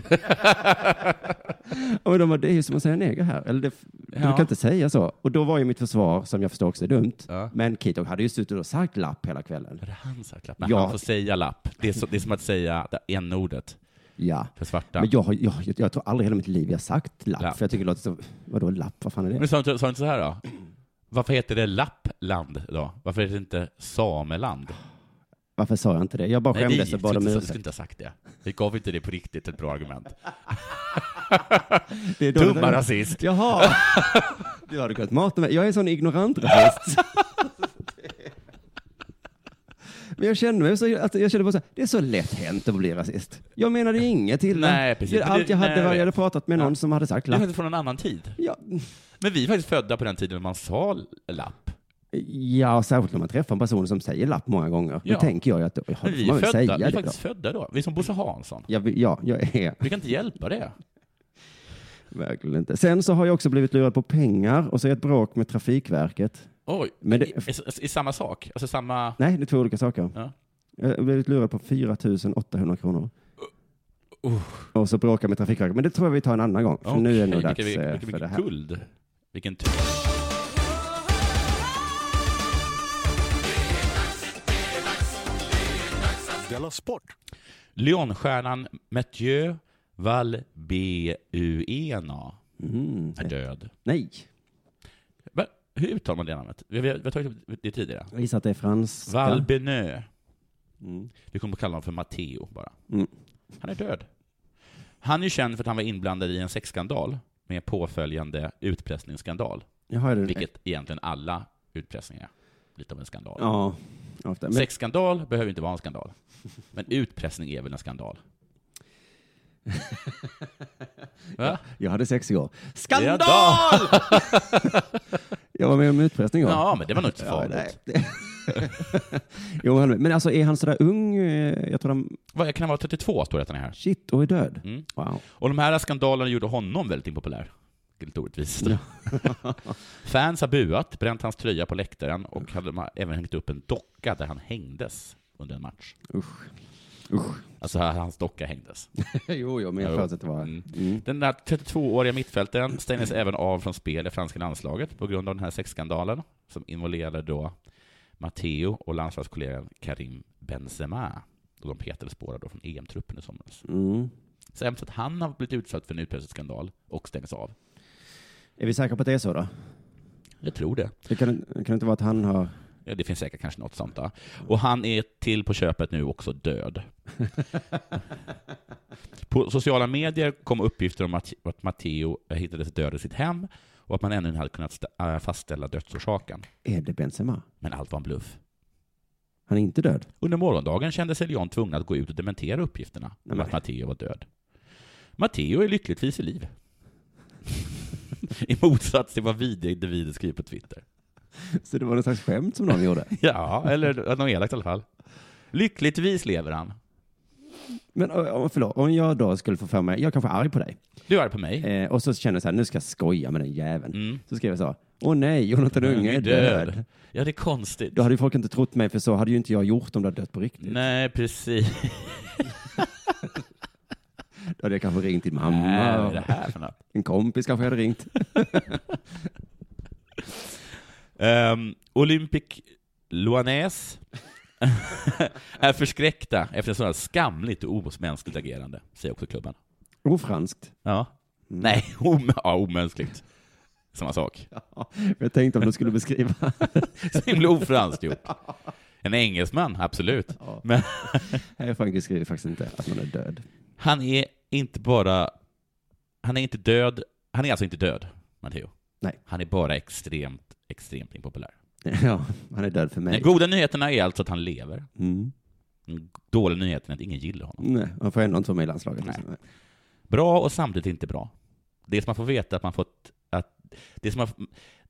[SPEAKER 4] Och de bara, det är ju som att säga neger här. Eller det, Du
[SPEAKER 5] Ja.
[SPEAKER 4] kan inte säga så. Och då var ju mitt försvar, som jag förstår också är dumt,
[SPEAKER 5] Ja.
[SPEAKER 4] men Kitok hade ju suttit och sagt lapp hela kvällen.
[SPEAKER 5] Är det han som har klapp? Nej,
[SPEAKER 4] Ja.
[SPEAKER 5] han får säga lapp. Det är, så, det är som att säga det n-ordet
[SPEAKER 4] Ja.
[SPEAKER 5] för svarta.
[SPEAKER 4] Men jag, har- jag, jag, jag tror aldrig i hela mitt liv jag har sagt lapp,
[SPEAKER 5] Lapp.
[SPEAKER 4] för jag tycker det låter så, vadå lapp, vad fan är det?
[SPEAKER 5] Men sa du inte- sa du inte så här då? Varför heter det Lappland då? Varför heter det inte Sameland?
[SPEAKER 4] Varför sa jag inte det? Jag bara
[SPEAKER 5] Nej, det är
[SPEAKER 4] skämdes och
[SPEAKER 5] givetvis
[SPEAKER 4] bad om
[SPEAKER 5] inte så. Du skulle
[SPEAKER 4] ursäkt.
[SPEAKER 5] inte ha sagt det. Vi gav inte det på riktigt ett bra argument.
[SPEAKER 4] Det är dåligt.
[SPEAKER 5] Dumma rasist.
[SPEAKER 4] Jaha! Du hade kunnat mata mig. Jag är en sån ignorant rasist. Men jag kände mig så, alltså, jag kände bara så här, det är så lätt hänt att bli rasist. Jag menade inget illa.
[SPEAKER 5] Nej, precis.
[SPEAKER 4] Det- Allt jag
[SPEAKER 5] Nej,
[SPEAKER 4] hade var jag
[SPEAKER 5] jag
[SPEAKER 4] hade
[SPEAKER 5] vet.
[SPEAKER 4] pratat med någon som hade sagt
[SPEAKER 5] Det är
[SPEAKER 4] lapp.
[SPEAKER 5] faktiskt från en annan tid.
[SPEAKER 4] Ja,
[SPEAKER 5] Men vi är faktiskt födda på den tiden när man sa lapp.
[SPEAKER 4] ja, särskilt när man träffar en person som säger lapp många gånger. Då
[SPEAKER 5] Ja.
[SPEAKER 4] tänker jag ju att, ja, då
[SPEAKER 5] Men
[SPEAKER 4] får
[SPEAKER 5] vi är,
[SPEAKER 4] man väl
[SPEAKER 5] födda, vi
[SPEAKER 4] säga
[SPEAKER 5] är
[SPEAKER 4] det då.
[SPEAKER 5] faktiskt födda då. Vi är som Bosse Hansson.
[SPEAKER 4] Jag vill- Ja, jag är
[SPEAKER 5] Vi kan inte hjälpa det.
[SPEAKER 4] Verkligen inte. Sen så har jag också blivit lurad på pengar och så är ett bråk med Trafikverket.
[SPEAKER 5] Oj,
[SPEAKER 4] Men
[SPEAKER 5] men
[SPEAKER 4] det-
[SPEAKER 5] i, i, i samma sak? Alltså samma...
[SPEAKER 4] Nej, det är två olika saker.
[SPEAKER 5] Ja.
[SPEAKER 4] Jag har blivit lurad på 4 800 kronor. Uh. Och så bråkar med Trafikverket. Men det tror jag vi tar en annan gång. För nu är det nog
[SPEAKER 5] Okej,
[SPEAKER 4] dags
[SPEAKER 5] vilken-
[SPEAKER 4] eh,
[SPEAKER 5] vilken-
[SPEAKER 4] för det
[SPEAKER 5] vilken
[SPEAKER 4] här.
[SPEAKER 5] guld. Vilken tur.
[SPEAKER 2] Della Sport!
[SPEAKER 5] Lyonstjärnan Mathieu Valbuena
[SPEAKER 4] Mm.
[SPEAKER 5] är död.
[SPEAKER 4] Nej,
[SPEAKER 5] Va? Hur uttalar man det namnet? Vi, vi, har- vi har tagit upp det tidigare.
[SPEAKER 4] jag gissar att det är franska.
[SPEAKER 5] Valbenö.
[SPEAKER 4] Mm.
[SPEAKER 5] Vi kommer att kalla honom för Matteo bara.
[SPEAKER 4] Mm.
[SPEAKER 5] Han är död. Han är ju känd för att han var inblandad i en sexskandal med påföljande utpressningsskandal,
[SPEAKER 4] Jag har det.
[SPEAKER 5] vilket egentligen alla utpressningar är. Lite av en skandal.
[SPEAKER 4] Ja, ofta. Men,
[SPEAKER 5] Sexskandal behöver inte vara en skandal, men utpressning är väl en skandal? Va?
[SPEAKER 4] jag hade sex igår.
[SPEAKER 5] Skandal!
[SPEAKER 4] Jag var med om utpressning igår.
[SPEAKER 5] Ja, men det var nog inte så
[SPEAKER 4] Ja,
[SPEAKER 5] farligt.
[SPEAKER 4] nej. jo, jag håller med. men alltså är han sådär ung? eh, Jag tror han...
[SPEAKER 5] Vad, jag kan vara 32, står det att han är här.
[SPEAKER 4] Shit, och är död.
[SPEAKER 5] Mm.
[SPEAKER 4] Wow.
[SPEAKER 5] Och de här skandalerna gjorde honom väldigt impopulär. Lite orättvist. Fans har buat, bränt hans tröja på läktaren och hade de även hängt upp en docka där han hängdes under en match.
[SPEAKER 4] Usch. Usch.
[SPEAKER 5] Alltså här hans docka hängdes.
[SPEAKER 4] jo, jo, men jag
[SPEAKER 5] Jo.
[SPEAKER 4] förutsätter det var...
[SPEAKER 5] Mm.
[SPEAKER 4] Mm.
[SPEAKER 5] Den där 32-åriga mittfältaren stängdes även av från spel i franska landslaget på grund av den här sexskandalen som involverade då Matteo och landslagskollegan Karim Benzema. Och de petades båda då från EM-truppen i somras.
[SPEAKER 4] Mm.
[SPEAKER 5] Sämst att han har blivit utsatt för en utpressningsskandal och stängs av.
[SPEAKER 4] Är vi säkra på att det är så då?
[SPEAKER 5] Jag tror det.
[SPEAKER 4] Det kan, kan det inte vara att han har...
[SPEAKER 5] Ja, det finns säkert kanske något sånt där. Och han är till på köpet nu också död. på sociala medier kom uppgifter om att, att Matteo hittades död i sitt hem och att man ännu inte hade kunnat sta- äh, fastställa dödsorsaken.
[SPEAKER 4] Är det Benzema?
[SPEAKER 5] Men allt var en bluff.
[SPEAKER 4] Han är inte död?
[SPEAKER 5] Under morgondagen kände sig Leon tvungen att gå ut och dementera uppgifterna om
[SPEAKER 4] Nej.
[SPEAKER 5] att Matteo var död. Matteo är lyckligtvis i liv. I motsats till vad vidriga individer skriver på Twitter.
[SPEAKER 4] Så det var någon slags skämt som de gjorde?
[SPEAKER 5] Ja, eller något elakt i alla fall. Lyckligtvis lever han.
[SPEAKER 4] Men ö, ö, förlåt, om jag då skulle få för mig, jag kanske är arg på dig,
[SPEAKER 5] Du är på mig.
[SPEAKER 4] eh, och så känner jag så här, nu ska jag skoja med den jäveln.
[SPEAKER 5] Mm.
[SPEAKER 4] Så skrev jag så, åh nej, Jonathan Unge Mm, är död.
[SPEAKER 5] Ja, det är konstigt.
[SPEAKER 4] Då hade ju folk inte trott mig, för så hade ju inte jag gjort om det hade dött på riktigt.
[SPEAKER 5] Nej, precis.
[SPEAKER 4] Då hade jag kanske ringt din
[SPEAKER 5] Nej, vad är det
[SPEAKER 4] mamma,
[SPEAKER 5] här för något?
[SPEAKER 4] en kompis kanske jag hade ringt.
[SPEAKER 5] Ehm, Olympic Loanès är förskräckta efter sådant skamligt och omänskligt agerande, säger också klubben.
[SPEAKER 4] Ofranskt.
[SPEAKER 5] Ja. Nej, om, ja, omänskligt. Samma sak.
[SPEAKER 4] Mm. Ja, jag tänkte om du skulle beskriva.
[SPEAKER 5] Så himla ofranskt gjort. En engelsman, absolut. Men
[SPEAKER 4] Nej, Frankrike skriver faktiskt inte att man är död.
[SPEAKER 5] han är inte bara... Han är inte död. Han är alltså inte död, Matteo.
[SPEAKER 4] Nej.
[SPEAKER 5] Han är bara extremt, extremt impopulär.
[SPEAKER 4] Ja, han är död för
[SPEAKER 5] Den
[SPEAKER 4] mig.
[SPEAKER 5] goda nyheterna är alltså att han lever.
[SPEAKER 4] Mm.
[SPEAKER 5] Den dåliga nyheten är att ingen gillar honom.
[SPEAKER 4] Nej, han får ändå inte vara med i landslaget.
[SPEAKER 5] Nej.
[SPEAKER 4] Nej.
[SPEAKER 5] Bra och samtidigt inte bra. Det är som att få veta att man fått... Att, det, är som att,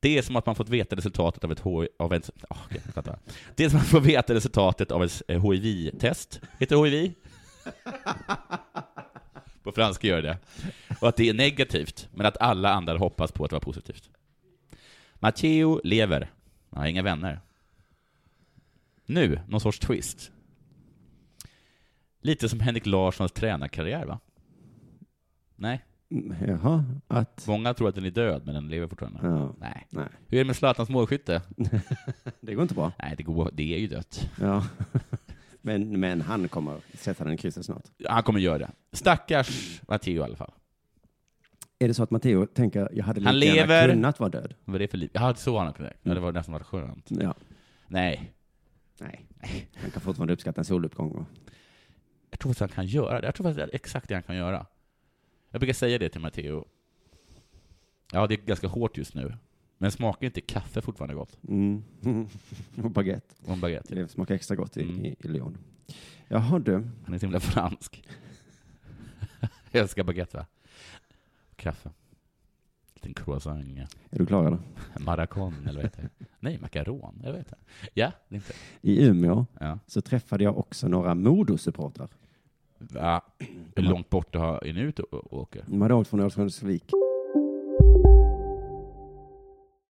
[SPEAKER 5] det är som att man fått veta resultatet av ett H- av ens, åh, jag kan prata. Det är som att få veta resultatet av ett eh, HIV-test. Heter det HIV? på franska gör det. Och att det är negativt, men att alla andra hoppas på att det var positivt. Matteo lever. Han har inga vänner. Nu, någon sorts twist. Lite som Henrik Larssons tränarkarriär, va? Nej,
[SPEAKER 4] Jaha, att...
[SPEAKER 5] många tror att den är död, men den lever fortfarande.
[SPEAKER 4] Ja.
[SPEAKER 5] Nej.
[SPEAKER 4] Nej,
[SPEAKER 5] Hur är det med Zlatans målskytte?
[SPEAKER 4] det går inte bra.
[SPEAKER 5] Nej, det, går, det är ju dött.
[SPEAKER 4] Ja. Men, men han kommer sätta den i krysset snart.
[SPEAKER 5] Han kommer göra det. Stackars Matteo i alla fall.
[SPEAKER 4] Är det så att Matteo tänker, jag hade lika
[SPEAKER 5] Han
[SPEAKER 4] gärna
[SPEAKER 5] lever.
[SPEAKER 4] kunnat vara död?
[SPEAKER 5] Vad är det för liv? Ja, så har han kunnat. Ja, det var nästan varit skönt.
[SPEAKER 4] Ja.
[SPEAKER 5] Nej,
[SPEAKER 4] Nej. Han kan fortfarande uppskatta en soluppgång. och-
[SPEAKER 5] jag tror faktiskt han kan göra det. Jag tror faktiskt det är exakt det han kan göra. Jag brukar säga det till Matteo. Ja, det är ganska hårt just nu. Men smakar inte kaffe fortfarande gott?
[SPEAKER 4] Mm. och baguette.
[SPEAKER 5] Och en baguette.
[SPEAKER 4] Det smakar extra gott i,
[SPEAKER 5] Mm.
[SPEAKER 4] i, i Lyon. Jaha du.
[SPEAKER 5] Han är så himla fransk. jag älskar baguette, va? Kaffe. Liten croissant.
[SPEAKER 4] Är du klar eller?
[SPEAKER 5] Maracon, eller vad heter det? Nej, makaron. Jag vet inte. Ja, det är inte.
[SPEAKER 4] I Umeå
[SPEAKER 5] Ja.
[SPEAKER 4] så träffade jag också några Modosupportrar.
[SPEAKER 5] Va? Hur långt bort du har, är ni ute och och åker?
[SPEAKER 4] De hade åkt från Örnsköldsvik.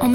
[SPEAKER 7] Om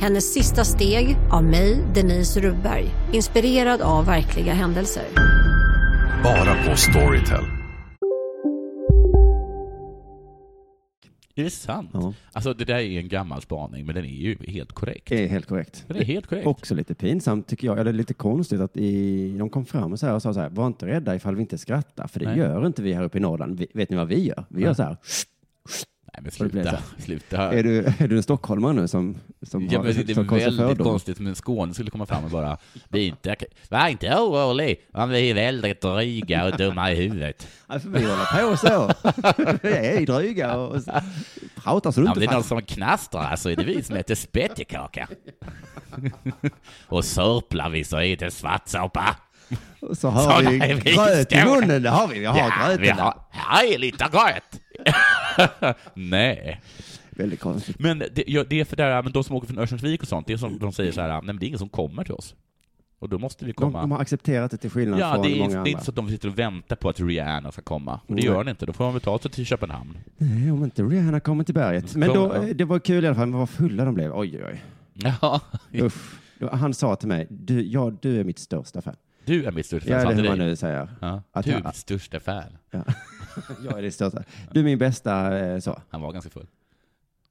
[SPEAKER 8] Hennes sista steg av mig, Denise Rubberg. Inspirerad av verkliga händelser.
[SPEAKER 9] Bara på Storytel.
[SPEAKER 5] Är det sant?
[SPEAKER 4] Ja.
[SPEAKER 5] Alltså, det där är en gammal spaning, men den är ju helt korrekt.
[SPEAKER 4] Det är helt korrekt.
[SPEAKER 5] Den är helt korrekt.
[SPEAKER 4] Också lite pinsamt tycker jag, eller lite konstigt att i, de kom fram och, så här och sa så här, var inte rädda ifall vi inte skrattar, för det
[SPEAKER 5] Nej.
[SPEAKER 4] gör inte vi här uppe i Norrland. Vi, vet ni vad vi gör? Vi gör så här.
[SPEAKER 5] Nej, men
[SPEAKER 4] Har det blivit
[SPEAKER 5] sluta. Sluta.
[SPEAKER 4] Är, du, är du en stockholmare nu som, som
[SPEAKER 5] Ja,
[SPEAKER 4] har
[SPEAKER 5] men det är
[SPEAKER 4] Stockholms
[SPEAKER 5] väldigt
[SPEAKER 4] fördom?
[SPEAKER 5] konstigt om en skåning skulle komma fram och bara Vi är inte, var inte orolig, men vi är väldigt dryga och dumma i huvudet.
[SPEAKER 4] Ja, för vi håller på så. vi är dryga och och pratar så du
[SPEAKER 5] Om
[SPEAKER 4] inte
[SPEAKER 5] det är
[SPEAKER 4] fattar.
[SPEAKER 5] någon som knastrar så är det vi som äter spettekaka. och sörplar vi så är det svartsåpa. alltså,
[SPEAKER 4] Och Så har
[SPEAKER 5] Sådana
[SPEAKER 4] vi
[SPEAKER 5] är vi
[SPEAKER 4] gröt i
[SPEAKER 5] stora.
[SPEAKER 4] munnen, det har vi. Vi har gröten
[SPEAKER 5] vi
[SPEAKER 4] där.
[SPEAKER 5] har, här är lite gröt. Nej.
[SPEAKER 4] Väldigt konstigt.
[SPEAKER 5] Men det, ja, det är för där, men de som åker från Örnsköldsvik och sånt, det är som de säger så här, nej men det är ingen som kommer till oss. Och då måste vi
[SPEAKER 4] De,
[SPEAKER 5] komma.
[SPEAKER 4] de har accepterat det till skillnad
[SPEAKER 5] ja,
[SPEAKER 4] från
[SPEAKER 5] det är,
[SPEAKER 4] många andra.
[SPEAKER 5] det är inte så att de sitter och väntar på att Rihanna ska komma. Men det
[SPEAKER 4] Nej.
[SPEAKER 5] gör hon inte, då får man väl ta sig till Köpenhamn.
[SPEAKER 4] Nej, om inte Rihanna kommer till berget. Men då, eh,
[SPEAKER 5] Kommer, ja.
[SPEAKER 4] det var kul i alla fall, men vad fulla de blev. Oj, oj,
[SPEAKER 5] Ja,
[SPEAKER 4] oj. Usch. Då- Han sa till mig, du, ja, du är mitt största fan.
[SPEAKER 5] du är mitt största fan,
[SPEAKER 4] Ja,
[SPEAKER 5] sa
[SPEAKER 4] det är
[SPEAKER 5] inte
[SPEAKER 4] hur man
[SPEAKER 5] dig.
[SPEAKER 4] nu säger.
[SPEAKER 5] Ja,
[SPEAKER 4] Att
[SPEAKER 5] du är
[SPEAKER 4] jag-
[SPEAKER 5] mitt största fan.
[SPEAKER 4] Ja. jag är det största. Du är min bästa eh, så.
[SPEAKER 5] Han var ganska full.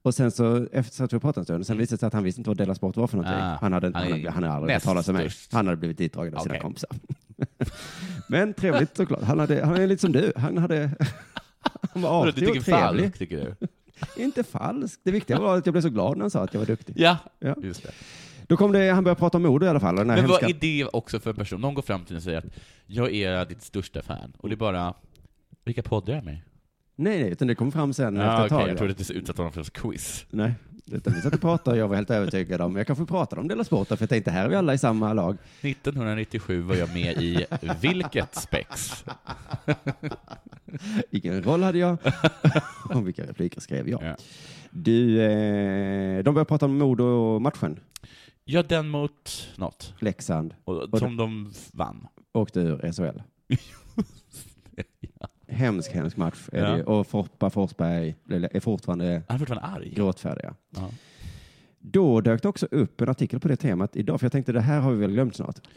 [SPEAKER 4] Och sen så, efter så att vi pratade en stund, sen visade det sig att han visste inte vad Della Sport var för någonting.
[SPEAKER 5] Mm. Ah,
[SPEAKER 4] han hade inte,
[SPEAKER 5] han
[SPEAKER 4] han,
[SPEAKER 5] är
[SPEAKER 4] hade, han hade aldrig
[SPEAKER 5] näst
[SPEAKER 4] talat för mig.
[SPEAKER 5] störst.
[SPEAKER 4] Han hade blivit ditdragen av sina
[SPEAKER 5] Okej.
[SPEAKER 4] kompisar. Men trevligt såklart. Han, hade, han är lite som du. Han hade... Han var
[SPEAKER 5] Vadå,
[SPEAKER 4] artig och trevlig.
[SPEAKER 5] falsk, tycker du?
[SPEAKER 4] Inte falsk. Det viktiga var att jag blev så glad när han sa att jag var duktig.
[SPEAKER 5] Ja,
[SPEAKER 4] Ja.
[SPEAKER 5] just det.
[SPEAKER 4] Då kom det, han började prata om mode i alla fall. och Den här
[SPEAKER 5] Men vad
[SPEAKER 4] hemska-
[SPEAKER 5] är det också för en person? Någon går fram till dig och säger att jag är ditt största fan, och det är bara vilka poddar är jag med i?
[SPEAKER 4] Nej, nej, utan det kom fram sen efter
[SPEAKER 5] Ja,
[SPEAKER 4] ett
[SPEAKER 5] Ah, okej,
[SPEAKER 4] tag.
[SPEAKER 5] jag trodde att du utsatte honom för ett quiz.
[SPEAKER 4] Nej, Utan vi satt och pratade och jag var helt övertygad om, jag kanske pratade om Della Sport för jag tänkte här är vi alla i samma lag.
[SPEAKER 5] 1997 var jag med i vilket spex?
[SPEAKER 4] Vilken roll hade jag? Och vilka repliker skrev jag?
[SPEAKER 5] Ja.
[SPEAKER 4] Du, eh, de började prata om Modo-matchen.
[SPEAKER 5] Ja, den mot något.
[SPEAKER 4] Leksand
[SPEAKER 5] Och, som de vann.
[SPEAKER 4] åkte ur SHL. Hemsk, hemsk match. Är
[SPEAKER 5] Ja.
[SPEAKER 4] det. ju. Och Foppa Forsberg blev- är fortfarande
[SPEAKER 5] Han är fortfarande arg.
[SPEAKER 4] gråtfärdiga.
[SPEAKER 5] Ja.
[SPEAKER 4] Då dök det också upp en artikel på det temat idag, för jag tänkte det här har vi väl glömt snart.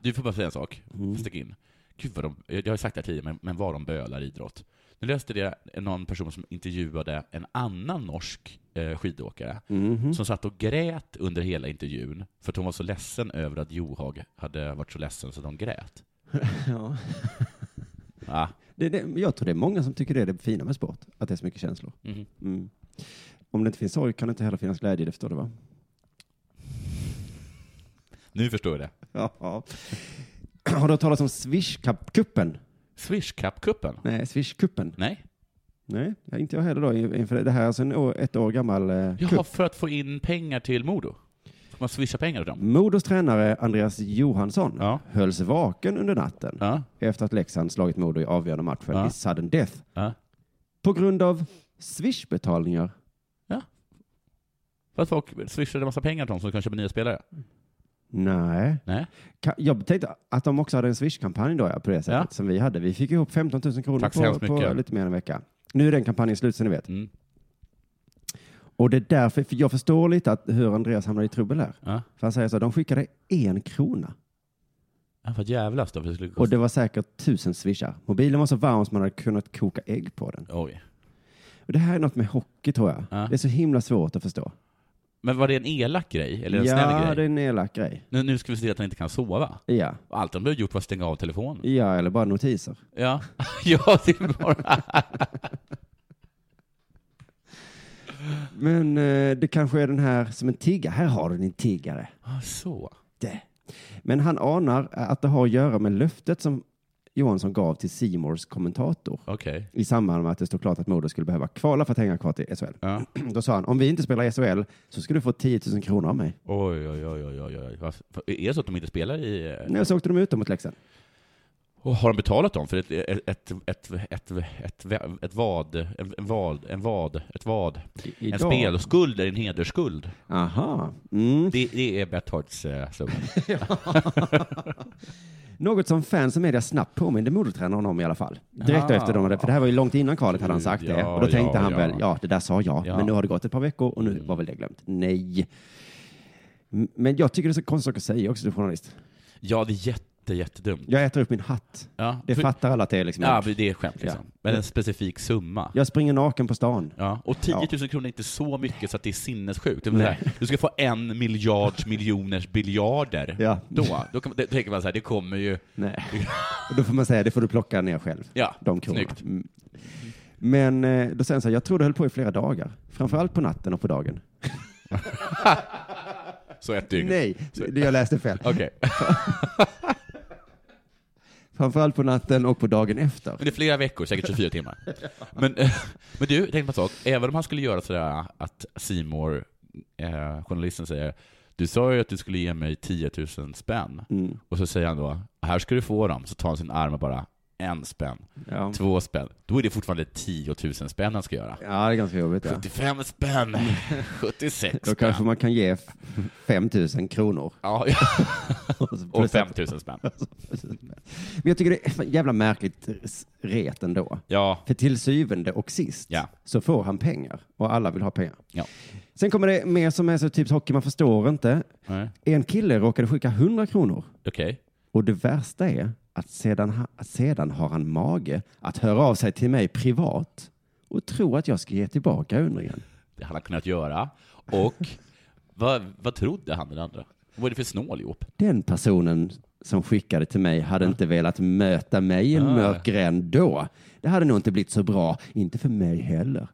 [SPEAKER 5] Du får bara säga en sak.
[SPEAKER 4] Mm.
[SPEAKER 5] Stick in. Gud vad de, jag har sagt det här tidigare, men, men vad de bölar idrott. Nu läste det någon person som intervjuade en annan norsk eh, skidåkare
[SPEAKER 4] Mm.
[SPEAKER 5] som satt och grät under hela intervjun för att hon var så ledsen över att Johag hade varit så ledsen så de grät.
[SPEAKER 4] Ja.
[SPEAKER 5] Ah.
[SPEAKER 4] Det, det, jag tror det är många som tycker det är det fina med sport, att det är så mycket känslor.
[SPEAKER 5] Mhm.
[SPEAKER 4] Mm. Om det inte finns sorg kan det inte heller finnas glädje, det förstår du va?
[SPEAKER 5] Nu förstår jag det.
[SPEAKER 4] Ja. Har du hört talas om Swish-kuppen?
[SPEAKER 5] Swish Cup-cupen?
[SPEAKER 4] Nej, Swish-kuppen.
[SPEAKER 5] Nej?
[SPEAKER 4] Nej, inte jag heller då. Inför det. det här är alltså en år, ett år gammal eh,
[SPEAKER 5] Jaha,
[SPEAKER 4] kupp.
[SPEAKER 5] för att få in pengar till Modo? Får man swisha pengar till dem?
[SPEAKER 4] Modos tränare Andreas Johansson
[SPEAKER 5] Ja.
[SPEAKER 4] hölls vaken under natten
[SPEAKER 5] Ja.
[SPEAKER 4] efter att Leksand slagit Modo i avgörande matchen
[SPEAKER 5] Ja.
[SPEAKER 4] i sudden death
[SPEAKER 5] ja.
[SPEAKER 4] på grund av Swish-betalningar.
[SPEAKER 5] För att folk swishade en massa pengar till dem som kan köpa nya spelare?
[SPEAKER 4] Nej.
[SPEAKER 5] Nej?
[SPEAKER 4] Ka- Jag tänkte att de också hade en Swish-kampanj då, ja, på det sättet
[SPEAKER 5] Ja.
[SPEAKER 4] som vi hade. Vi fick ihop 15 000 kronor
[SPEAKER 5] Tack så hemskt
[SPEAKER 4] på, på
[SPEAKER 5] mycket.
[SPEAKER 4] lite mer än en vecka. Nu är den kampanjen slut, så ni vet.
[SPEAKER 5] Mm.
[SPEAKER 4] Och det är därför, för jag förstår lite att, hur Andreas hamnade i trubbel här.
[SPEAKER 5] Ja.
[SPEAKER 4] För han säger så, här, de skickade en krona.
[SPEAKER 5] Ja, för att jävlas då, för det skulle
[SPEAKER 4] Och
[SPEAKER 5] kosta...
[SPEAKER 4] det var säkert tusen swishar. Mobilen var så varm som man hade kunnat koka ägg på den.
[SPEAKER 5] Oj.
[SPEAKER 4] Och det här är något med hockey tror jag.
[SPEAKER 5] Ja.
[SPEAKER 4] Det är så himla svårt att förstå.
[SPEAKER 5] Men var det en elak grej? Eller en snäll
[SPEAKER 4] ja,
[SPEAKER 5] grej?
[SPEAKER 4] det är en elak grej.
[SPEAKER 5] Nu, nu ska vi se till att han inte kan sova.
[SPEAKER 4] Ja.
[SPEAKER 5] Och Allt han behöver gjort var att stänga av telefonen.
[SPEAKER 4] ja, eller bara notiser.
[SPEAKER 5] Ja, ja det är bara...
[SPEAKER 4] Men eh, det kanske är den här som en tiggare. Här har du din tiggare.
[SPEAKER 5] Ah, Så.
[SPEAKER 4] Det. Men han anar att det har att göra med löftet som Johansson gav till Simors kommentator
[SPEAKER 5] Okej.
[SPEAKER 4] i samband med att det stod klart att Modo skulle behöva kvala för att hänga kvar till SHL.
[SPEAKER 5] Ja.
[SPEAKER 4] Då sa han, om vi inte spelar i SHL så ska du få 10 000 kronor av mig.
[SPEAKER 5] Oj, oj, oj, oj, oj, oj. Vad- Är det så att de inte spelar i... eh,
[SPEAKER 4] Nej, så åkte de ut dem mot Leksand.
[SPEAKER 5] Och har de betalat dem för ett, ett, ett, ett, ett, ett, ett vad, en vad, en vad, ett vad, en
[SPEAKER 4] idag.
[SPEAKER 5] spelskuld eller en hedersskuld?
[SPEAKER 4] Aha. Mm.
[SPEAKER 5] Det, det är Bethards eh, summa.
[SPEAKER 4] Något som fans och media snabbt påminde Modotränaren om i alla fall. Direkt
[SPEAKER 5] Ah.
[SPEAKER 4] efter de hade, för det här var ju långt innan kvalet hade han sagt det.
[SPEAKER 5] Ja,
[SPEAKER 4] Och då tänkte
[SPEAKER 5] ja,
[SPEAKER 4] han
[SPEAKER 5] ja.
[SPEAKER 4] väl, ja det där sa jag,
[SPEAKER 5] Ja. Mm.
[SPEAKER 4] men nu har det gått ett par veckor och nu var väl det glömt. Nej. M- Men jag tycker det är så konstigt att säga också till journalist.
[SPEAKER 5] Ja, det är jätte, jättedumt.
[SPEAKER 4] Jag äter upp min hatt.
[SPEAKER 5] Ja,
[SPEAKER 4] Det
[SPEAKER 5] för-
[SPEAKER 4] fattar alla att det är liksom
[SPEAKER 5] ja,
[SPEAKER 4] gjort.
[SPEAKER 5] men det är skämt liksom.
[SPEAKER 4] Ja.
[SPEAKER 5] Men en specifik summa.
[SPEAKER 4] Jag springer naken på stan.
[SPEAKER 5] Ja, och 10 000 kronor är inte så mycket så att det är sinnessjukt. Det är så här, du ska få en miljards miljoners biljarder.
[SPEAKER 4] Ja.
[SPEAKER 5] Då, då, kan, då tänker man så här, det kommer ju...
[SPEAKER 4] Nej. Och då får man säga, det får du plocka ner själv.
[SPEAKER 5] Ja,
[SPEAKER 4] de kronorna.
[SPEAKER 5] snyggt.
[SPEAKER 4] Mm. Men eh, då säger han så här, jag tror det höll på i flera dagar. Framförallt på natten och på dagen.
[SPEAKER 5] Så ett dygn.
[SPEAKER 4] Nej, det- jag läste fel.
[SPEAKER 5] Okej.
[SPEAKER 4] Framförallt på natten och på dagen efter.
[SPEAKER 5] Men det är flera veckor, säkert 24 timmar. Men, eh, men du, tänk på en sak. Även om han skulle göra sådär att Simor eh, journalisten säger du sa ju att du skulle ge mig 10 000 spänn. Och så säger han då, här ska du få dem. Så tar han sin arm och bara, en spänn,
[SPEAKER 4] Ja.
[SPEAKER 5] två spänn. Då är det fortfarande 10 000 spänn han ska göra.
[SPEAKER 4] Ja, det är ganska jobbigt. Ja.
[SPEAKER 5] 75 spänn, 76
[SPEAKER 4] Då
[SPEAKER 5] spänn.
[SPEAKER 4] kanske man kan ge f- 5 000 kronor.
[SPEAKER 5] Ja, ja. Och
[SPEAKER 4] Plus-
[SPEAKER 5] 5 000 spänn.
[SPEAKER 4] Men jag tycker det är ett jävla märkligt s- ret ändå.
[SPEAKER 5] Ja,
[SPEAKER 4] För till syvende och sist
[SPEAKER 5] Ja.
[SPEAKER 4] så får han pengar och alla vill ha pengar.
[SPEAKER 5] Ja.
[SPEAKER 4] Sen kommer det mer som är så typiskt hockey, man förstår inte.
[SPEAKER 5] Nej.
[SPEAKER 4] En kille råkade skicka 100 kronor
[SPEAKER 5] okej.
[SPEAKER 4] och det värsta är att sedan, ha- att sedan har han mage att höra av sig till mig privat och tro att jag ska ge tillbaka undringen.
[SPEAKER 5] Det hade han kunnat göra. Och vad, vad trodde han den andra? Vad är det för snål ihop?
[SPEAKER 4] Den personen som skickade till mig hade inte velat möta mig i en mörk gränd då. Det hade nog inte blivit så bra, inte för mig heller.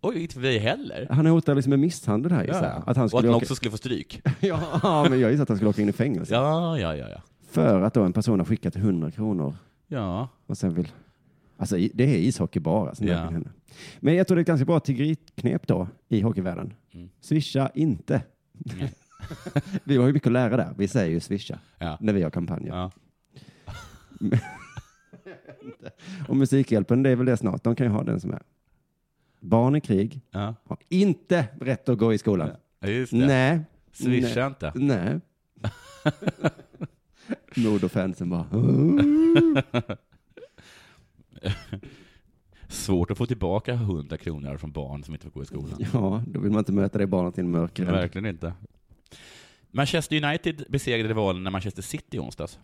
[SPEAKER 5] Oj, inte för mig heller.
[SPEAKER 4] Han hotar liksom med misshandel här gissar jag.
[SPEAKER 5] Ja.
[SPEAKER 4] Att han
[SPEAKER 5] och att
[SPEAKER 4] skulle
[SPEAKER 5] man
[SPEAKER 4] åka...
[SPEAKER 5] också skulle få stryk.
[SPEAKER 4] Ja, men jag gissar att han skulle åka in i fängelse.
[SPEAKER 5] Ja, ja, ja. ja.
[SPEAKER 4] För att då en person har skickat 100 kronor
[SPEAKER 5] ja.
[SPEAKER 4] och sen vill Alltså, i- det är ishockey bara som
[SPEAKER 5] Ja.
[SPEAKER 4] det kan hända. Men jag tror det är ett ganska bra tiggeriknep då i hockeyvärlden.
[SPEAKER 5] Mm.
[SPEAKER 4] Swisha inte. vi har ju mycket att lära där. Vi säger ju swisha
[SPEAKER 5] Ja.
[SPEAKER 4] när vi har kampanjer.
[SPEAKER 5] Ja.
[SPEAKER 4] Och Musikhjälpen, det är väl det snart. De kan ju ha den som är. Barn i krig
[SPEAKER 5] Ja.
[SPEAKER 4] har inte rätt att gå i skolan.
[SPEAKER 5] Ja, just det.
[SPEAKER 4] Nej.
[SPEAKER 5] Swisha
[SPEAKER 4] Nej.
[SPEAKER 5] inte.
[SPEAKER 4] Nej. Modofansen bara.
[SPEAKER 5] Svårt att få tillbaka 100 kronor från barn som inte får gå i skolan.
[SPEAKER 4] Ja, då vill man inte möta det barnet i en mörk gränd.
[SPEAKER 5] Verkligen inte. Manchester United besegrade rivalerna Manchester City i onsdags.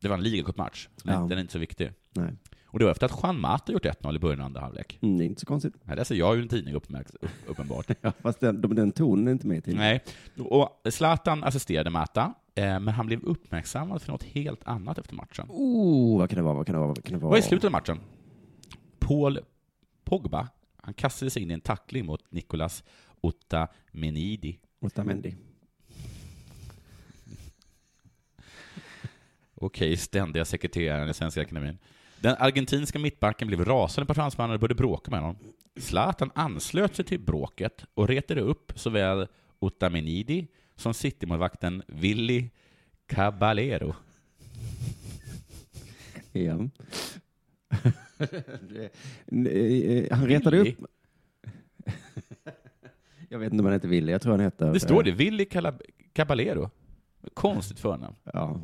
[SPEAKER 5] Det var en ligacupmatch. Den,
[SPEAKER 4] Ja.
[SPEAKER 5] den är inte så viktig.
[SPEAKER 4] Nej.
[SPEAKER 5] Och det var efter att Juan Mata gjort 1-0 i början av andra halvlek.
[SPEAKER 4] Mm, det är inte så konstigt.
[SPEAKER 5] Här läser jag ju en tidning uppmärks, upp- uppenbart.
[SPEAKER 4] Fast den, de- den tonen är inte med till.
[SPEAKER 5] Nej. Och Zlatan assisterade Mata, eh, men han blev uppmärksammad för något helt annat efter matchen.
[SPEAKER 4] Oh, vad kan det vara? Vad kan det vara? Vad kan det vara?
[SPEAKER 5] Och i slutet av matchen, Paul Pogba, han kastade sig in i en tackling mot Nicolas Otamendi.
[SPEAKER 4] Otamendi.
[SPEAKER 5] Okej, ständiga sekreteraren i Svenska Akademien. Den argentinska mittbacken blev rasande på fransmannen och började bråka med honom. Zlatan anslöt sig till bråket och retade upp såväl Otamendi som Citymålvakten Willy Caballero.
[SPEAKER 4] Ja. Det- eh, han retade upp.
[SPEAKER 5] Willy?
[SPEAKER 4] Jag vet inte om han heter Willy. Jag tror han heter.
[SPEAKER 5] Det står det, Willy Calab- Caballero. Konstigt förnamn.
[SPEAKER 4] Ja.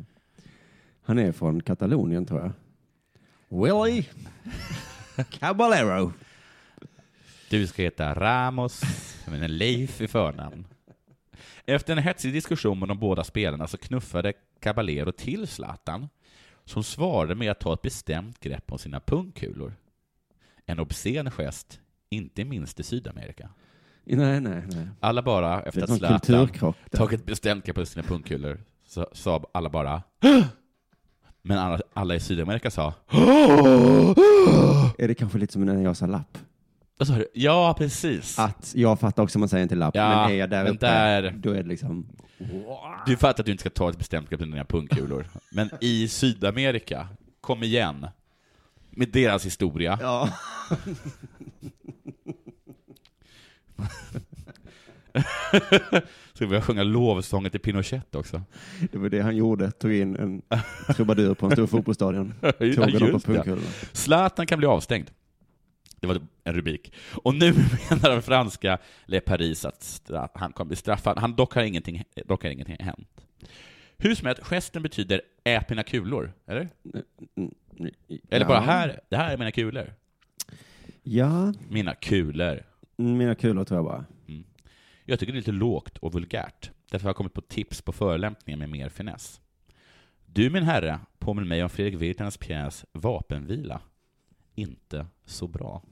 [SPEAKER 4] Han är från Katalonien tror jag. Willy Caballero.
[SPEAKER 5] Du ska heta Ramos, men Leif i förnamn. Efter en hetsig diskussion med de båda spelarna så knuffade Caballero till Zlatan, som svarade med att ta ett bestämt grepp om sina pungkulor. En obscen gest, inte minst i Sydamerika.
[SPEAKER 4] Nej, nej, nej.
[SPEAKER 5] Alla bara,
[SPEAKER 4] Det
[SPEAKER 5] efter
[SPEAKER 4] är
[SPEAKER 5] att
[SPEAKER 4] en
[SPEAKER 5] Zlatan
[SPEAKER 4] kulturkrock. där.
[SPEAKER 5] tagit ett bestämt grepp om sina pungkulor, så sa alla bara Men alla, alla i Sydamerika sa
[SPEAKER 4] Är det kanske lite som när jag sa lapp?
[SPEAKER 5] Vad sa du? Ja, precis.
[SPEAKER 4] Att jag fattar också att man säger inte lapp,
[SPEAKER 5] Ja,
[SPEAKER 4] men är jag där
[SPEAKER 5] men
[SPEAKER 4] uppe,
[SPEAKER 5] där-
[SPEAKER 4] då är det liksom...
[SPEAKER 5] Du fattar att du inte ska ta ett bestämt grepp om dina pungkulor. Men i Sydamerika, kom igen. Med deras historia.
[SPEAKER 4] Ja.
[SPEAKER 5] Ska vi börja sjunga lovsången till Pinochet också?
[SPEAKER 4] Det var det han gjorde, tog in en trubadur på en stor fotbollsstadion. Tog
[SPEAKER 5] Ja,
[SPEAKER 4] honom på
[SPEAKER 5] just det.
[SPEAKER 4] pungkulorna.
[SPEAKER 5] Zlatan kan bli avstängd. Det var en rubrik. Och nu menar den franska Le Paris att stra- han kommer bli straffad. Han dock har ingenting, dock har ingenting hänt. Hur som helst, gesten betyder ät mina kulor, eller? Eller bara
[SPEAKER 4] Ja.
[SPEAKER 5] här, det här är mina kulor.
[SPEAKER 4] Ja,
[SPEAKER 5] Mina kulor.
[SPEAKER 4] mina kulor tror jag bara.
[SPEAKER 5] Jag tycker det är lite lågt och vulgärt. Därför har jag kommit på tips på förolämpningar med mer finess. Du min herre påminner mig om Fredrik Virtanens pjäs Vapenvila. Inte så bra.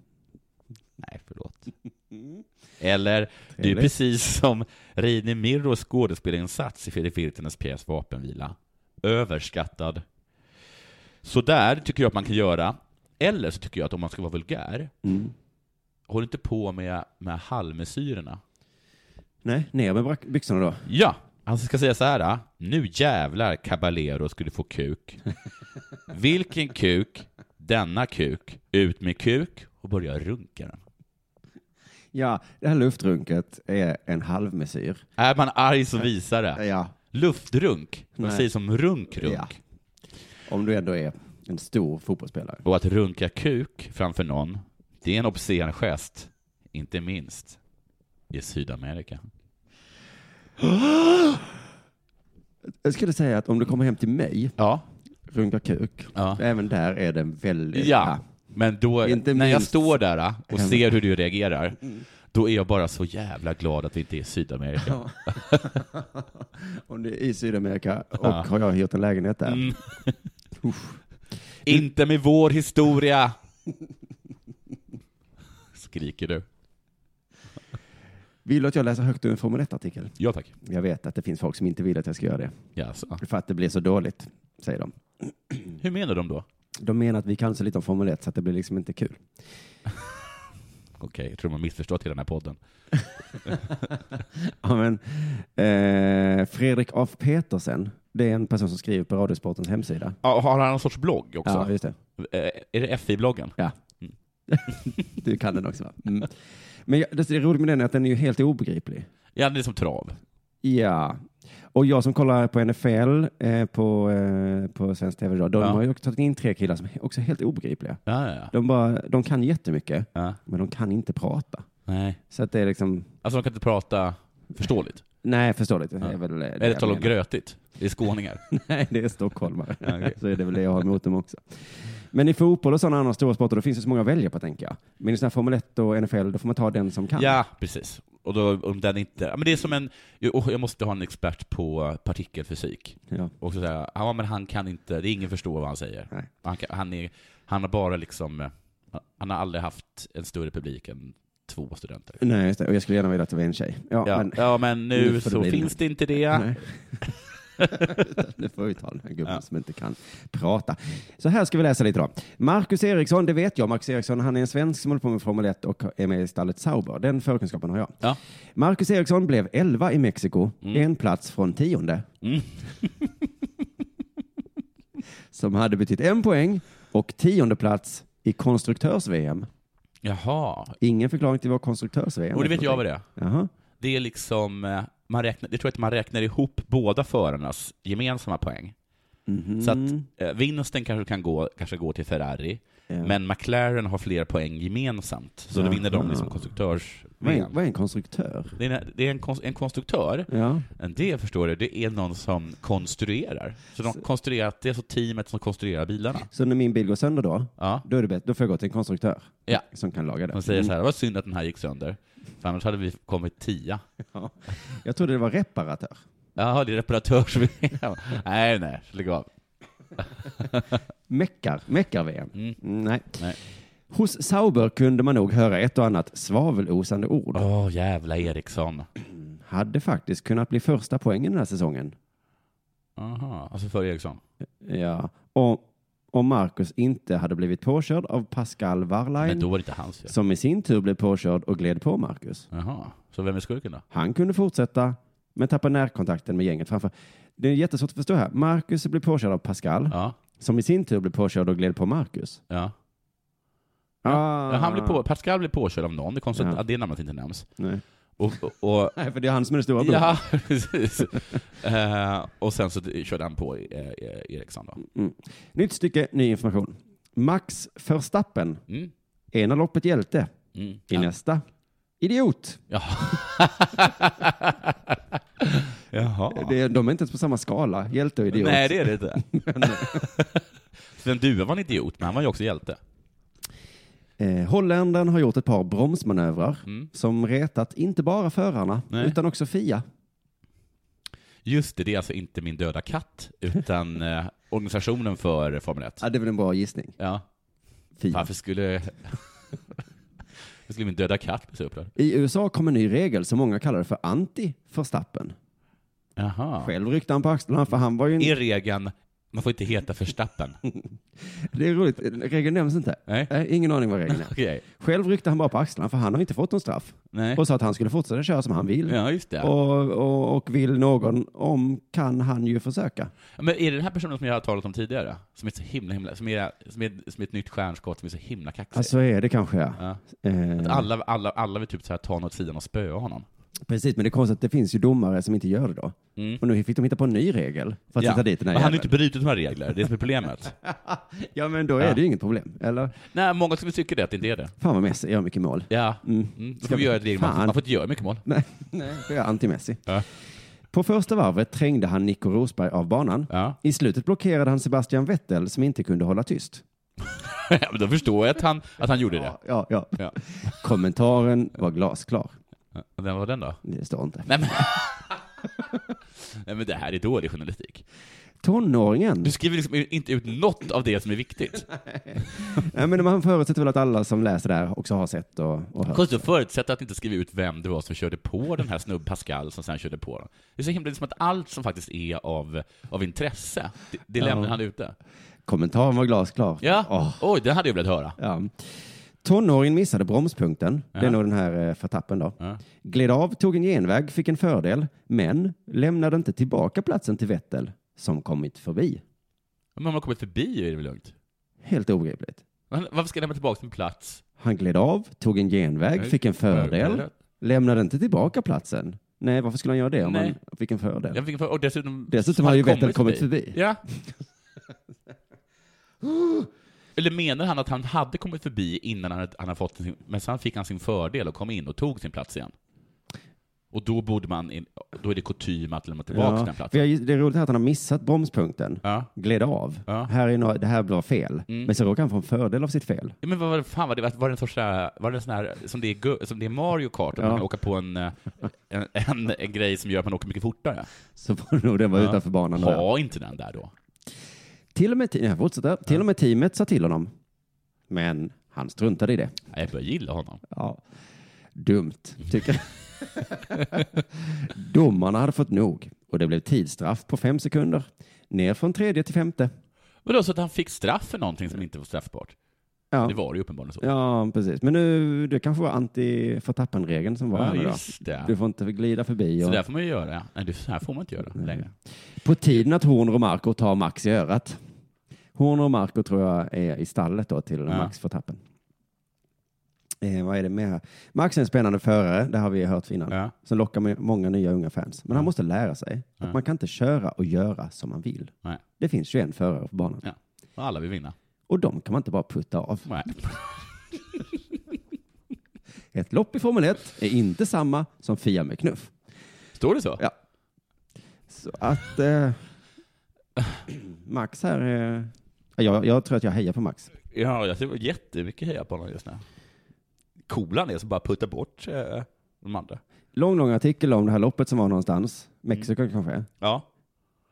[SPEAKER 5] Nej, förlåt. Eller, du är
[SPEAKER 4] Trevligt.
[SPEAKER 5] precis som Reine Mirros skådespelarinsats i Fredrik Virtanens pjäs Vapenvila. Överskattad. Så där tycker jag att man kan göra. Eller så tycker jag att om man ska vara vulgär,
[SPEAKER 4] Mm.
[SPEAKER 5] håll inte på med, med halvmesyrerna.
[SPEAKER 4] Nej, ner med brack- byxorna då.
[SPEAKER 5] Ja, han ska säga så här. ah. Nu jävlar Caballero skulle få kuk. Vilken kuk? Denna kuk. Ut med kuk och börja runka den.
[SPEAKER 4] Ja, det här luftrunket är en halvmesyr.
[SPEAKER 5] Är man arg så visar det.
[SPEAKER 4] Ja,
[SPEAKER 5] Luftrunk. Man
[SPEAKER 4] Nej.
[SPEAKER 5] säger som runkrunk.
[SPEAKER 4] Ja. om du ändå är en stor fotbollsspelare.
[SPEAKER 5] Och att runka kuk framför någon, det är en obscen gest. Inte minst i Sydamerika.
[SPEAKER 4] Jag skulle säga att om du kommer hem till mig,
[SPEAKER 5] Ja.
[SPEAKER 4] runkar kuk,
[SPEAKER 5] Ja.
[SPEAKER 4] även där är den väldigt...
[SPEAKER 5] Ja, men då,
[SPEAKER 4] Eh, Inte
[SPEAKER 5] när jag
[SPEAKER 4] minst. Mm.
[SPEAKER 5] står där ah, och ser hur du reagerar, då är jag bara så jävla glad att vi inte är i Sydamerika.
[SPEAKER 4] Om du är i Sydamerika och
[SPEAKER 5] Ja.
[SPEAKER 4] har jag hyrt en lägenhet där.
[SPEAKER 5] Inte med vår historia! Skriker du?
[SPEAKER 4] Vill du att jag läser högt ur en Formel 1-artikel?
[SPEAKER 5] Ja tack.
[SPEAKER 4] Jag vet att det finns folk som inte vill att jag ska göra det.
[SPEAKER 5] Jaså.
[SPEAKER 4] För att det blir så dåligt, säger de.
[SPEAKER 5] Hur menar de då?
[SPEAKER 4] De menar att vi kan så lite om Formel 1 så att det blir liksom inte kul.
[SPEAKER 5] Okej, jag tror de har missförstått hela den här podden.
[SPEAKER 4] Ja, men, eh, Fredrik af Petersen, Det är en person som skriver på Radiosportens hemsida.
[SPEAKER 5] Ja, har han någon sorts blogg också?
[SPEAKER 4] Ja, just det.
[SPEAKER 5] Eh, Är det FI-bloggen?
[SPEAKER 4] Ja. Du kan den också va? Mm. Men jag, det är roligt med den är att den är ju helt obegriplig.
[SPEAKER 5] Ja, det är som trav.
[SPEAKER 4] Ja. Och jag som kollar på NFL eh, på, eh, på svensk tv idag, de
[SPEAKER 5] Ja.
[SPEAKER 4] har ju också tagit in tre killar som är också är helt obegripliga.
[SPEAKER 5] Ja, ja, ja.
[SPEAKER 4] De, bara, de kan jättemycket,
[SPEAKER 5] ja.
[SPEAKER 4] men de kan inte prata.
[SPEAKER 5] Nej.
[SPEAKER 4] Så att det är liksom,
[SPEAKER 5] Alltså, de kan inte prata förståeligt.
[SPEAKER 4] nej förståeligt. Det
[SPEAKER 5] Ja.
[SPEAKER 4] är väl det
[SPEAKER 5] Är det
[SPEAKER 4] jag
[SPEAKER 5] tal om
[SPEAKER 4] menar.
[SPEAKER 5] grötigt? Det är skåningar.
[SPEAKER 4] Nej, det är stockholmare.
[SPEAKER 5] Ja, okej.
[SPEAKER 4] så är det väl det jag har emot dem också. Men i fotboll och sådana andra stora sporter, då finns det så många att välja på tänker jag. Men i sådana här Formel 1 och NFL, då får man ta den som kan.
[SPEAKER 5] Ja, precis. Och då, om den inte... ja, Men det är som en... jo, Jag måste ha en expert på partikelfysik.
[SPEAKER 4] Ja.
[SPEAKER 5] Och så säga, ja men han kan inte, det är ingen förstår vad han säger.
[SPEAKER 4] Nej.
[SPEAKER 5] Han, kan, han, är, han har bara liksom, eh, han har aldrig haft en större publik än två studenter.
[SPEAKER 4] Nej, just det. Och jag skulle gärna vilja att det var en tjej. Ja,
[SPEAKER 5] Ja,
[SPEAKER 4] men
[SPEAKER 5] ja men nu,
[SPEAKER 4] nu får det
[SPEAKER 5] så
[SPEAKER 4] bli
[SPEAKER 5] finns det inte det.
[SPEAKER 4] Nej. nu får vi ta den här gubben
[SPEAKER 5] Ja.
[SPEAKER 4] som inte kan prata. Så här ska vi läsa lite då. Marcus Eriksson, det vet jag. Marcus Eriksson, han är en svensk som håller på med Formel 1 och är med i stallet Sauber. Den förkunskapen har jag.
[SPEAKER 5] Ja.
[SPEAKER 4] Marcus Eriksson blev 11 i Mexiko, en plats från tionde.
[SPEAKER 5] Mm.
[SPEAKER 4] som hade betytt en poäng och tionde plats i konstruktörs-VM.
[SPEAKER 5] Jaha.
[SPEAKER 4] Ingen förklaring till vad konstruktörs-VM
[SPEAKER 5] Och det vet jag vad
[SPEAKER 4] det
[SPEAKER 5] det är.
[SPEAKER 4] Jaha.
[SPEAKER 5] Det är liksom, eh, man räknar, jag tror att man räknar ihop båda förarnas gemensamma poäng. Så att eh, vinsten kanske kan gå, kanske går till Ferrari,
[SPEAKER 4] Ja.
[SPEAKER 5] men McLaren har fler poäng gemensamt, så då
[SPEAKER 4] Jaha.
[SPEAKER 5] vinner de liksom konstruktörs
[SPEAKER 4] Vad är, vad är en konstruktör?
[SPEAKER 5] det är, en- det är en, konst, en konstruktör,
[SPEAKER 4] Ja.
[SPEAKER 5] Men Eh, Det förstår du, det är någon som konstruerar. Så de konstruerar, det är så teamet som konstruerar bilarna.
[SPEAKER 4] Så när min bil går sönder då,
[SPEAKER 5] Ja.
[SPEAKER 4] då, är det bättre, då får jag gå till en konstruktör
[SPEAKER 5] Ja.
[SPEAKER 4] som kan laga det.
[SPEAKER 5] De säger så här, vad synd att den här gick sönder, för annars hade vi kommit tia.
[SPEAKER 4] Mm. Ja. Jag trodde det var reparatör.
[SPEAKER 5] Jaha, det är reparatör som är... Nej, nej, lägg av.
[SPEAKER 4] Meckar, meckar-VM.
[SPEAKER 5] Mm.
[SPEAKER 4] Nej.
[SPEAKER 5] Nej.
[SPEAKER 4] Hos Sauber kunde man nog höra ett och annat svavelosande ord.
[SPEAKER 5] Åh, jävla Eriksson.
[SPEAKER 4] Hade faktiskt kunnat bli första poängen den här säsongen.
[SPEAKER 5] Aha, alltså för Eriksson.
[SPEAKER 4] Ja. Och om Marcus inte hade blivit påkörd av Pascal
[SPEAKER 5] Men
[SPEAKER 4] Wehrlein,
[SPEAKER 5] då var det inte hans fel.
[SPEAKER 4] som i sin tur blev påkörd och gled på Marcus.
[SPEAKER 5] Jaha, så vem är skurken då?
[SPEAKER 4] Han kunde fortsätta, men tappade närkontakten med gänget framför. Det är jättesvårt att förstå här. Marcus blev påkörd av Pascal,
[SPEAKER 5] Ja,
[SPEAKER 4] som i sin tur blev påkörd och gled på Marcus.
[SPEAKER 5] ja.
[SPEAKER 4] Ah.
[SPEAKER 5] Han blir på, Pascal blir påkörd av någon, det är konstigt
[SPEAKER 4] Ja.
[SPEAKER 5] att det namnet inte nämns.
[SPEAKER 4] Nej.
[SPEAKER 5] Och, och, och,
[SPEAKER 4] Nej, för det är han som är den stora brodern.
[SPEAKER 5] Ja, precis. Eh, och sen så körde han på eh, eh, Eriksson då.
[SPEAKER 4] Nytt stycke, ny information. Max Verstappen,
[SPEAKER 5] Mm.
[SPEAKER 4] ena loppet hjälte,
[SPEAKER 5] Mm.
[SPEAKER 4] i nästa idiot.
[SPEAKER 5] Jaha.
[SPEAKER 4] Det, de är inte ens på samma skala, hjälte och idiot.
[SPEAKER 5] Nej, det är det inte. Sven Due var en idiot, men han var ju också hjälte.
[SPEAKER 4] Eh, Holländaren har gjort ett par bromsmanövrar
[SPEAKER 5] Mm.
[SPEAKER 4] som retat inte bara förarna,
[SPEAKER 5] Nej.
[SPEAKER 4] utan också Fia.
[SPEAKER 5] Just det, det är alltså inte min döda katt, utan eh, organisationen för Formel 1.
[SPEAKER 4] Ja, det är väl en bra gissning.
[SPEAKER 5] Ja.
[SPEAKER 4] Fia.
[SPEAKER 5] Varför skulle... Varför skulle min döda katt bli så upprörd?
[SPEAKER 4] I USA kom en ny regel som många kallade för anti-Verstappen.
[SPEAKER 5] Jaha.
[SPEAKER 4] Själv ryckte han på axlarna för han var ju en...
[SPEAKER 5] Är regeln, man får inte heta Verstappen?
[SPEAKER 4] Det är roligt, regeln nämns inte.
[SPEAKER 5] Nej.
[SPEAKER 4] Nej, ingen aning vad regeln är.
[SPEAKER 5] Okej.
[SPEAKER 4] Själv ryckte han bara på axlarna för han har inte fått någon straff.
[SPEAKER 5] Nej.
[SPEAKER 4] Och sa att han skulle fortsätta köra som han vill.
[SPEAKER 5] Ja, just det.
[SPEAKER 4] Mm. Och, och, och vill någon om kan han ju försöka.
[SPEAKER 5] Ja, Men är det den här personen som jag har talat om tidigare? Som är så himla, himla, som är, som är, som är ett nytt stjärnskott som är så himla kaxig?
[SPEAKER 4] Alltså är det kanske ja.
[SPEAKER 5] ja.
[SPEAKER 4] Eh,
[SPEAKER 5] Att alla, alla, alla vill typ så här ta något åt sidan och spöa honom.
[SPEAKER 4] Precis, men det är konstigt att det finns ju domare som inte gör det då.
[SPEAKER 5] Mm.
[SPEAKER 4] Och nu fick de hitta på en ny regel för att sätta dit den här
[SPEAKER 5] Men han har
[SPEAKER 4] jäveln.
[SPEAKER 5] ju inte brutit några regler, det är som är problemet.
[SPEAKER 4] Ja, men då är
[SPEAKER 5] Ja.
[SPEAKER 4] det ju inget problem. Eller?
[SPEAKER 5] Nej, många skulle tycka det, att det inte är det.
[SPEAKER 4] Fan vad Messi gör mycket mål.
[SPEAKER 5] Ja.
[SPEAKER 4] Mm.
[SPEAKER 5] Mm. Då
[SPEAKER 4] Ska
[SPEAKER 5] får vi
[SPEAKER 4] vi-
[SPEAKER 5] göra ett regel, man,
[SPEAKER 4] Fan.
[SPEAKER 5] man får inte göra mycket mål.
[SPEAKER 4] Nej, nej, då är jag anti-Messi.
[SPEAKER 5] Ja.
[SPEAKER 4] På första varvet trängde han Nico Rosberg av banan.
[SPEAKER 5] Ja.
[SPEAKER 4] I slutet blockerade han Sebastian Vettel som inte kunde hålla tyst.
[SPEAKER 5] Ja, men då förstår jag att han, att han gjorde det.
[SPEAKER 4] Ja, ja, ja.
[SPEAKER 5] Ja.
[SPEAKER 4] Kommentaren var glasklar.
[SPEAKER 5] Ja, Vem var den då?
[SPEAKER 4] Det står inte.
[SPEAKER 5] Nej men... Nej men det här är dålig journalistik.
[SPEAKER 4] Tonåringen.
[SPEAKER 5] Du skriver liksom inte ut något av det som är viktigt.
[SPEAKER 4] Nej, men man förutsätter väl att alla som läser det här också har sett och, och hört.
[SPEAKER 5] Konstigt att förutsätta att inte skriva ut vem det var som körde på den här snubb Pascal som sen körde på den. Det är så himla, det är som att allt som faktiskt är av, av intresse, det, det lämnar han ute.
[SPEAKER 4] Kommentaren var glasklar.
[SPEAKER 5] Ja,
[SPEAKER 4] Åh,
[SPEAKER 5] oj, den hade jag velat höra.
[SPEAKER 4] ja. Tonåringen missade bromspunkten. Det
[SPEAKER 5] Ja.
[SPEAKER 4] är nog den här eh, förtappen då.
[SPEAKER 5] Ja.
[SPEAKER 4] Gled av, tog en genväg, fick en fördel, men lämnade inte tillbaka platsen till Vettel som kommit förbi.
[SPEAKER 5] Men om man kommit förbi är det väl lugnt?
[SPEAKER 4] Helt obegripligt.
[SPEAKER 5] Men Varför ska jag lämna tillbaka min plats?
[SPEAKER 4] Han gled av, tog en genväg,
[SPEAKER 5] Nej,
[SPEAKER 4] fick en fördel,
[SPEAKER 5] fördel.
[SPEAKER 4] lämnade inte tillbaka platsen. Nej, varför skulle han göra det om
[SPEAKER 5] Nej.
[SPEAKER 4] han fick en fördel?
[SPEAKER 5] Jag fick, och dessutom...
[SPEAKER 4] Dessutom har ju
[SPEAKER 5] kommit
[SPEAKER 4] vettet kommit förbi.
[SPEAKER 5] Ja. Eller menar han att han hade kommit förbi innan han, hade- han hade fått sin... Men sen fick han sin fördel och kom in och tog sin plats igen. Och då borde man... In, då är det kutym att lämna tillbaka den
[SPEAKER 4] för
[SPEAKER 5] platsen.
[SPEAKER 4] jag, det är roligt här att han har missat bromspunkten,
[SPEAKER 5] Ja.
[SPEAKER 4] gled av.
[SPEAKER 5] Ja.
[SPEAKER 4] Här är några, det här var fel,
[SPEAKER 5] Mm.
[SPEAKER 4] men så råkar han få en fördel av sitt fel.
[SPEAKER 5] Ja, Men vad var det, fan var det, var det en sorts, så här- var det en sån här, som det är, gu- som det är Mario Kart, att
[SPEAKER 4] Ja.
[SPEAKER 5] man kan åka på en, eh, en, en, en grej som gör att man åker mycket fortare?
[SPEAKER 4] Så var det nog den var utanför banan. där.
[SPEAKER 5] Ha inte den där då.
[SPEAKER 4] Till och med, te- nej, fortsätt där. Till och med teamet sa till honom. Men han struntade i det.
[SPEAKER 5] Nej, Jag börjar gilla honom.
[SPEAKER 4] Ja. Dumt, tycker jag. Domarna hade fått nog och det blev tidsstraff på fem sekunder. Ner från tredje till femte.
[SPEAKER 5] Vadå, så att han fick straff för någonting som inte var straffbart?
[SPEAKER 4] Ja,
[SPEAKER 5] Det var det ju uppenbarligen så.
[SPEAKER 4] ja precis. Men nu, det kanske var anti-förtappan-regeln som var
[SPEAKER 5] Ja,
[SPEAKER 4] här nu då.
[SPEAKER 5] just det.
[SPEAKER 4] Du får inte glida förbi.
[SPEAKER 5] Så
[SPEAKER 4] Och...
[SPEAKER 5] där får man ju göra. Nej, det- så här får man inte göra längre.
[SPEAKER 4] På tiden att Horn och Marco tar Max i örat. Horn och Marco tror jag är i stallet då till Max Verstappen. Eh, vad är det med här? Max är en spännande förare, det har vi hört innan,
[SPEAKER 5] Ja.
[SPEAKER 4] som lockar med många nya unga fans. Men han måste lära sig att man kan inte köra och göra som man vill.
[SPEAKER 5] Nej.
[SPEAKER 4] Det finns 21 förare på banan
[SPEAKER 5] Ja. Och Alla vill vinna.
[SPEAKER 4] och de kan man inte bara putta av.
[SPEAKER 5] Nej.
[SPEAKER 4] Ett lopp i Formel 1 är inte samma som Fia med knuff.
[SPEAKER 5] Står det så?
[SPEAKER 4] Ja. Så att eh, Max här, eh, jag, jag tror att jag hejar på Max.
[SPEAKER 5] Ja, jag ser jättemycket heja på honom just nu. Cool han är som bara puttar bort eh, de andra.
[SPEAKER 4] Lång, lång artikel om det här loppet som var någonstans, Mexiko kanske,
[SPEAKER 5] Ja.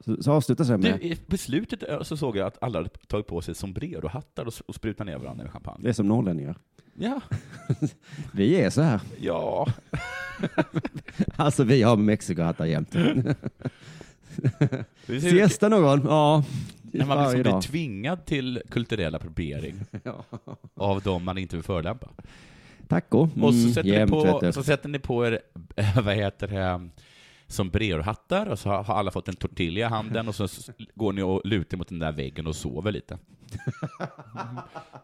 [SPEAKER 4] så, så avslutas det med,
[SPEAKER 5] Du, i- på slutet eh, så såg jag att alla hade tagit på sig sombrero-hattar och s- och sprutat ner varandra med champagne.
[SPEAKER 4] det är som norrlänningar.
[SPEAKER 5] Ja,
[SPEAKER 4] Vi är så här.
[SPEAKER 5] ja.
[SPEAKER 4] Alltså vi har Mexikohattar jämt.
[SPEAKER 5] Det ser ut-
[SPEAKER 4] Ses det någon? Ja.
[SPEAKER 5] När man
[SPEAKER 4] varje
[SPEAKER 5] liksom blir
[SPEAKER 4] dag.
[SPEAKER 5] tvingad till kulturell appropriering av de man inte vill förolämpa.
[SPEAKER 4] Taco.
[SPEAKER 5] Och så
[SPEAKER 4] Mm,
[SPEAKER 5] sätter,
[SPEAKER 4] jämt,
[SPEAKER 5] ni
[SPEAKER 4] vet du.
[SPEAKER 5] på, så sätter ni på er, eh, vad heter det, sombrerohattar och så har har alla fått en tortilla i handen och så s- går ni och lutar mot den där väggen och sover lite.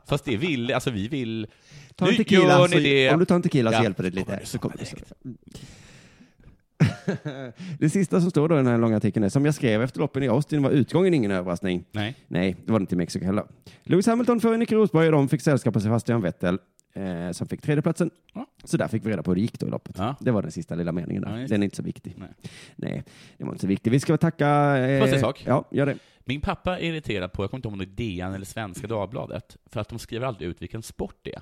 [SPEAKER 5] Fast det vill, alltså vi vill...
[SPEAKER 4] Ta
[SPEAKER 5] nu
[SPEAKER 4] en tequila,
[SPEAKER 5] gör
[SPEAKER 4] så,
[SPEAKER 5] ni det!
[SPEAKER 4] Om du tar en tequila så
[SPEAKER 5] Ja,
[SPEAKER 4] hjälper det lite.
[SPEAKER 5] kommer det
[SPEAKER 4] så kommer det. det sista som står då i den här långa artikeln är, som jag skrev efter loppen i Austin var utgången ingen överraskning.
[SPEAKER 5] Nej.
[SPEAKER 4] Nej, det var det inte i Mexiko heller. Lewis Hamilton före Nico Rosberg och de fick sällskap av Sebastian Vettel eh, som fick tredjeplatsen.
[SPEAKER 5] Ja.
[SPEAKER 4] Så där fick vi reda på hur det gick då i loppet.
[SPEAKER 5] Ja.
[SPEAKER 4] Det var den sista lilla meningen
[SPEAKER 5] Ja,
[SPEAKER 4] där.
[SPEAKER 5] just
[SPEAKER 4] den är inte så viktig.
[SPEAKER 5] Nej.
[SPEAKER 4] Nej, det var inte så viktigt. Vi ska väl tacka... Eh,
[SPEAKER 5] Första sak.
[SPEAKER 4] Ja, gör det.
[SPEAKER 5] Min pappa är irriterad på, jag kommer inte ihåg om det är DN eller Svenska Dagbladet, för att de skriver aldrig ut vilken sport det är.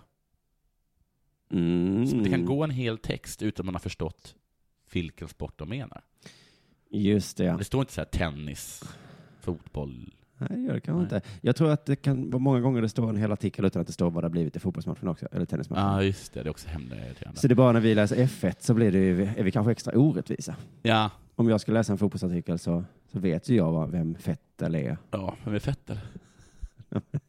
[SPEAKER 4] Mm.
[SPEAKER 5] Så det kan gå en hel text utan man har förstått vilken sport de menar.
[SPEAKER 4] Just det, ja.
[SPEAKER 5] Det står inte så här tennis, fotboll.
[SPEAKER 4] Nej, det gör det kanske inte. Jag tror att det kan vara många gånger det står en hel artikel utan att det står vad det har blivit i fotbollsmatchen också, eller
[SPEAKER 5] Ja,
[SPEAKER 4] tennismatchen.
[SPEAKER 5] ah, just det. Det är också hemligt irriterande.
[SPEAKER 4] Mm. Så det är bara när vi läser F1 så blir det ju, är vi kanske extra orättvisa.
[SPEAKER 5] Ja,
[SPEAKER 4] Om jag ska läsa en fotbollsartikel så, så vet ju jag vad, vem Vettel är.
[SPEAKER 5] ja, vem är Fetter?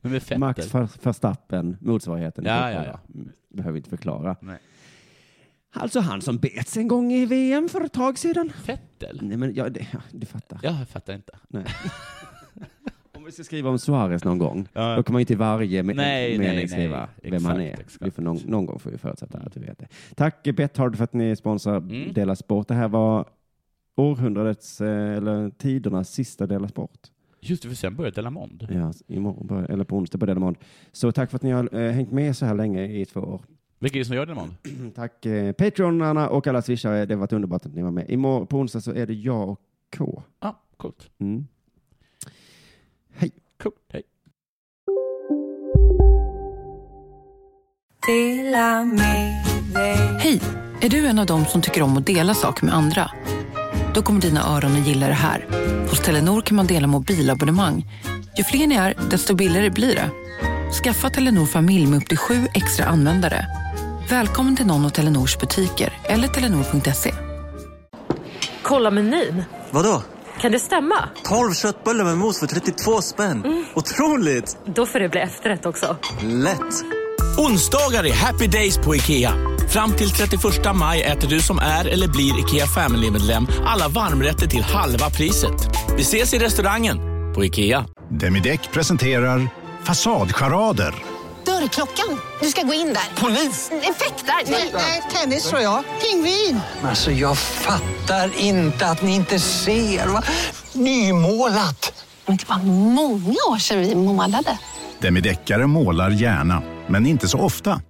[SPEAKER 5] Vem är Fetter?
[SPEAKER 4] Max Ver- Verstappen, motsvarigheten. i
[SPEAKER 5] Ja, ja,
[SPEAKER 4] fotboll, Mm, Behöver inte förklara.
[SPEAKER 5] Nej.
[SPEAKER 4] Alltså han som bets en gång i VM för ett tag sedan.
[SPEAKER 5] Fettel?
[SPEAKER 4] Nej, men jag, det, ja, du fattar.
[SPEAKER 5] Jag fattar inte.
[SPEAKER 4] Om vi ska skriva om Suarez någon gång,
[SPEAKER 5] Ja.
[SPEAKER 4] då kommer man ju till varje me-
[SPEAKER 5] Nej, nej,
[SPEAKER 4] mening
[SPEAKER 5] nej, nej.
[SPEAKER 4] skriva vem
[SPEAKER 5] Exakt,
[SPEAKER 4] man är.
[SPEAKER 5] exakt.
[SPEAKER 4] Vi får någon, någon gång får vi förutsätta att vi vet det. Tack eh, Bethard för att ni sponsrar
[SPEAKER 5] Mm.
[SPEAKER 4] Dela Sport. Det här var århundradets, eh, eller tidernas sista Dela Sport.
[SPEAKER 5] Just det, för sen började Delamond.
[SPEAKER 4] Ja, imorgon, bör- eller på onsdag på Delamond. Så tack för att ni har eh, hängt med så här länge i två år.
[SPEAKER 5] Vilka är det som gör Delamond?
[SPEAKER 4] Tack eh, Patreonarna och alla swishare. Det har varit underbart att ni var med. Imorgon, på onsdag så är det jag och K.
[SPEAKER 5] Ja, ah, coolt.
[SPEAKER 4] Mm.
[SPEAKER 5] Coolt, hej.
[SPEAKER 7] Hej! Är du en av dem som tycker om att dela saker med andra? Då kommer dina öron att gilla det här. Hos Telenor kan man dela mobilabonnemang. Ju fler ni är, desto billigare blir det. Skaffa Telenor familj med upp till sju extra användare. Välkommen till någon av Telenors butiker eller telenor.se.
[SPEAKER 10] Kolla menyn.
[SPEAKER 11] Vadå?
[SPEAKER 10] Kan det stämma?
[SPEAKER 11] 12 köttbullar med mos för 32 spänn. Otroligt!
[SPEAKER 10] Då får det bli efterrätt också.
[SPEAKER 11] Lätt!
[SPEAKER 5] Onsdagar är happy days på IKEA. Fram till 31 maj äter du som är eller blir IKEA Family-medlem alla varmrätter till halva priset. Vi ses i restaurangen på IKEA.
[SPEAKER 12] Demideck presenterar Fasadcharader.
[SPEAKER 13] Dörrklockan. Du ska gå in där. Polis? Effektar? Nej, tennis tror jag. Pingvin.
[SPEAKER 1] Alltså jag fattar inte att ni inte ser. Va? Nymålat.
[SPEAKER 13] Men det var många år sedan vi målade.
[SPEAKER 12] Demideckare målar gärna, men inte så ofta.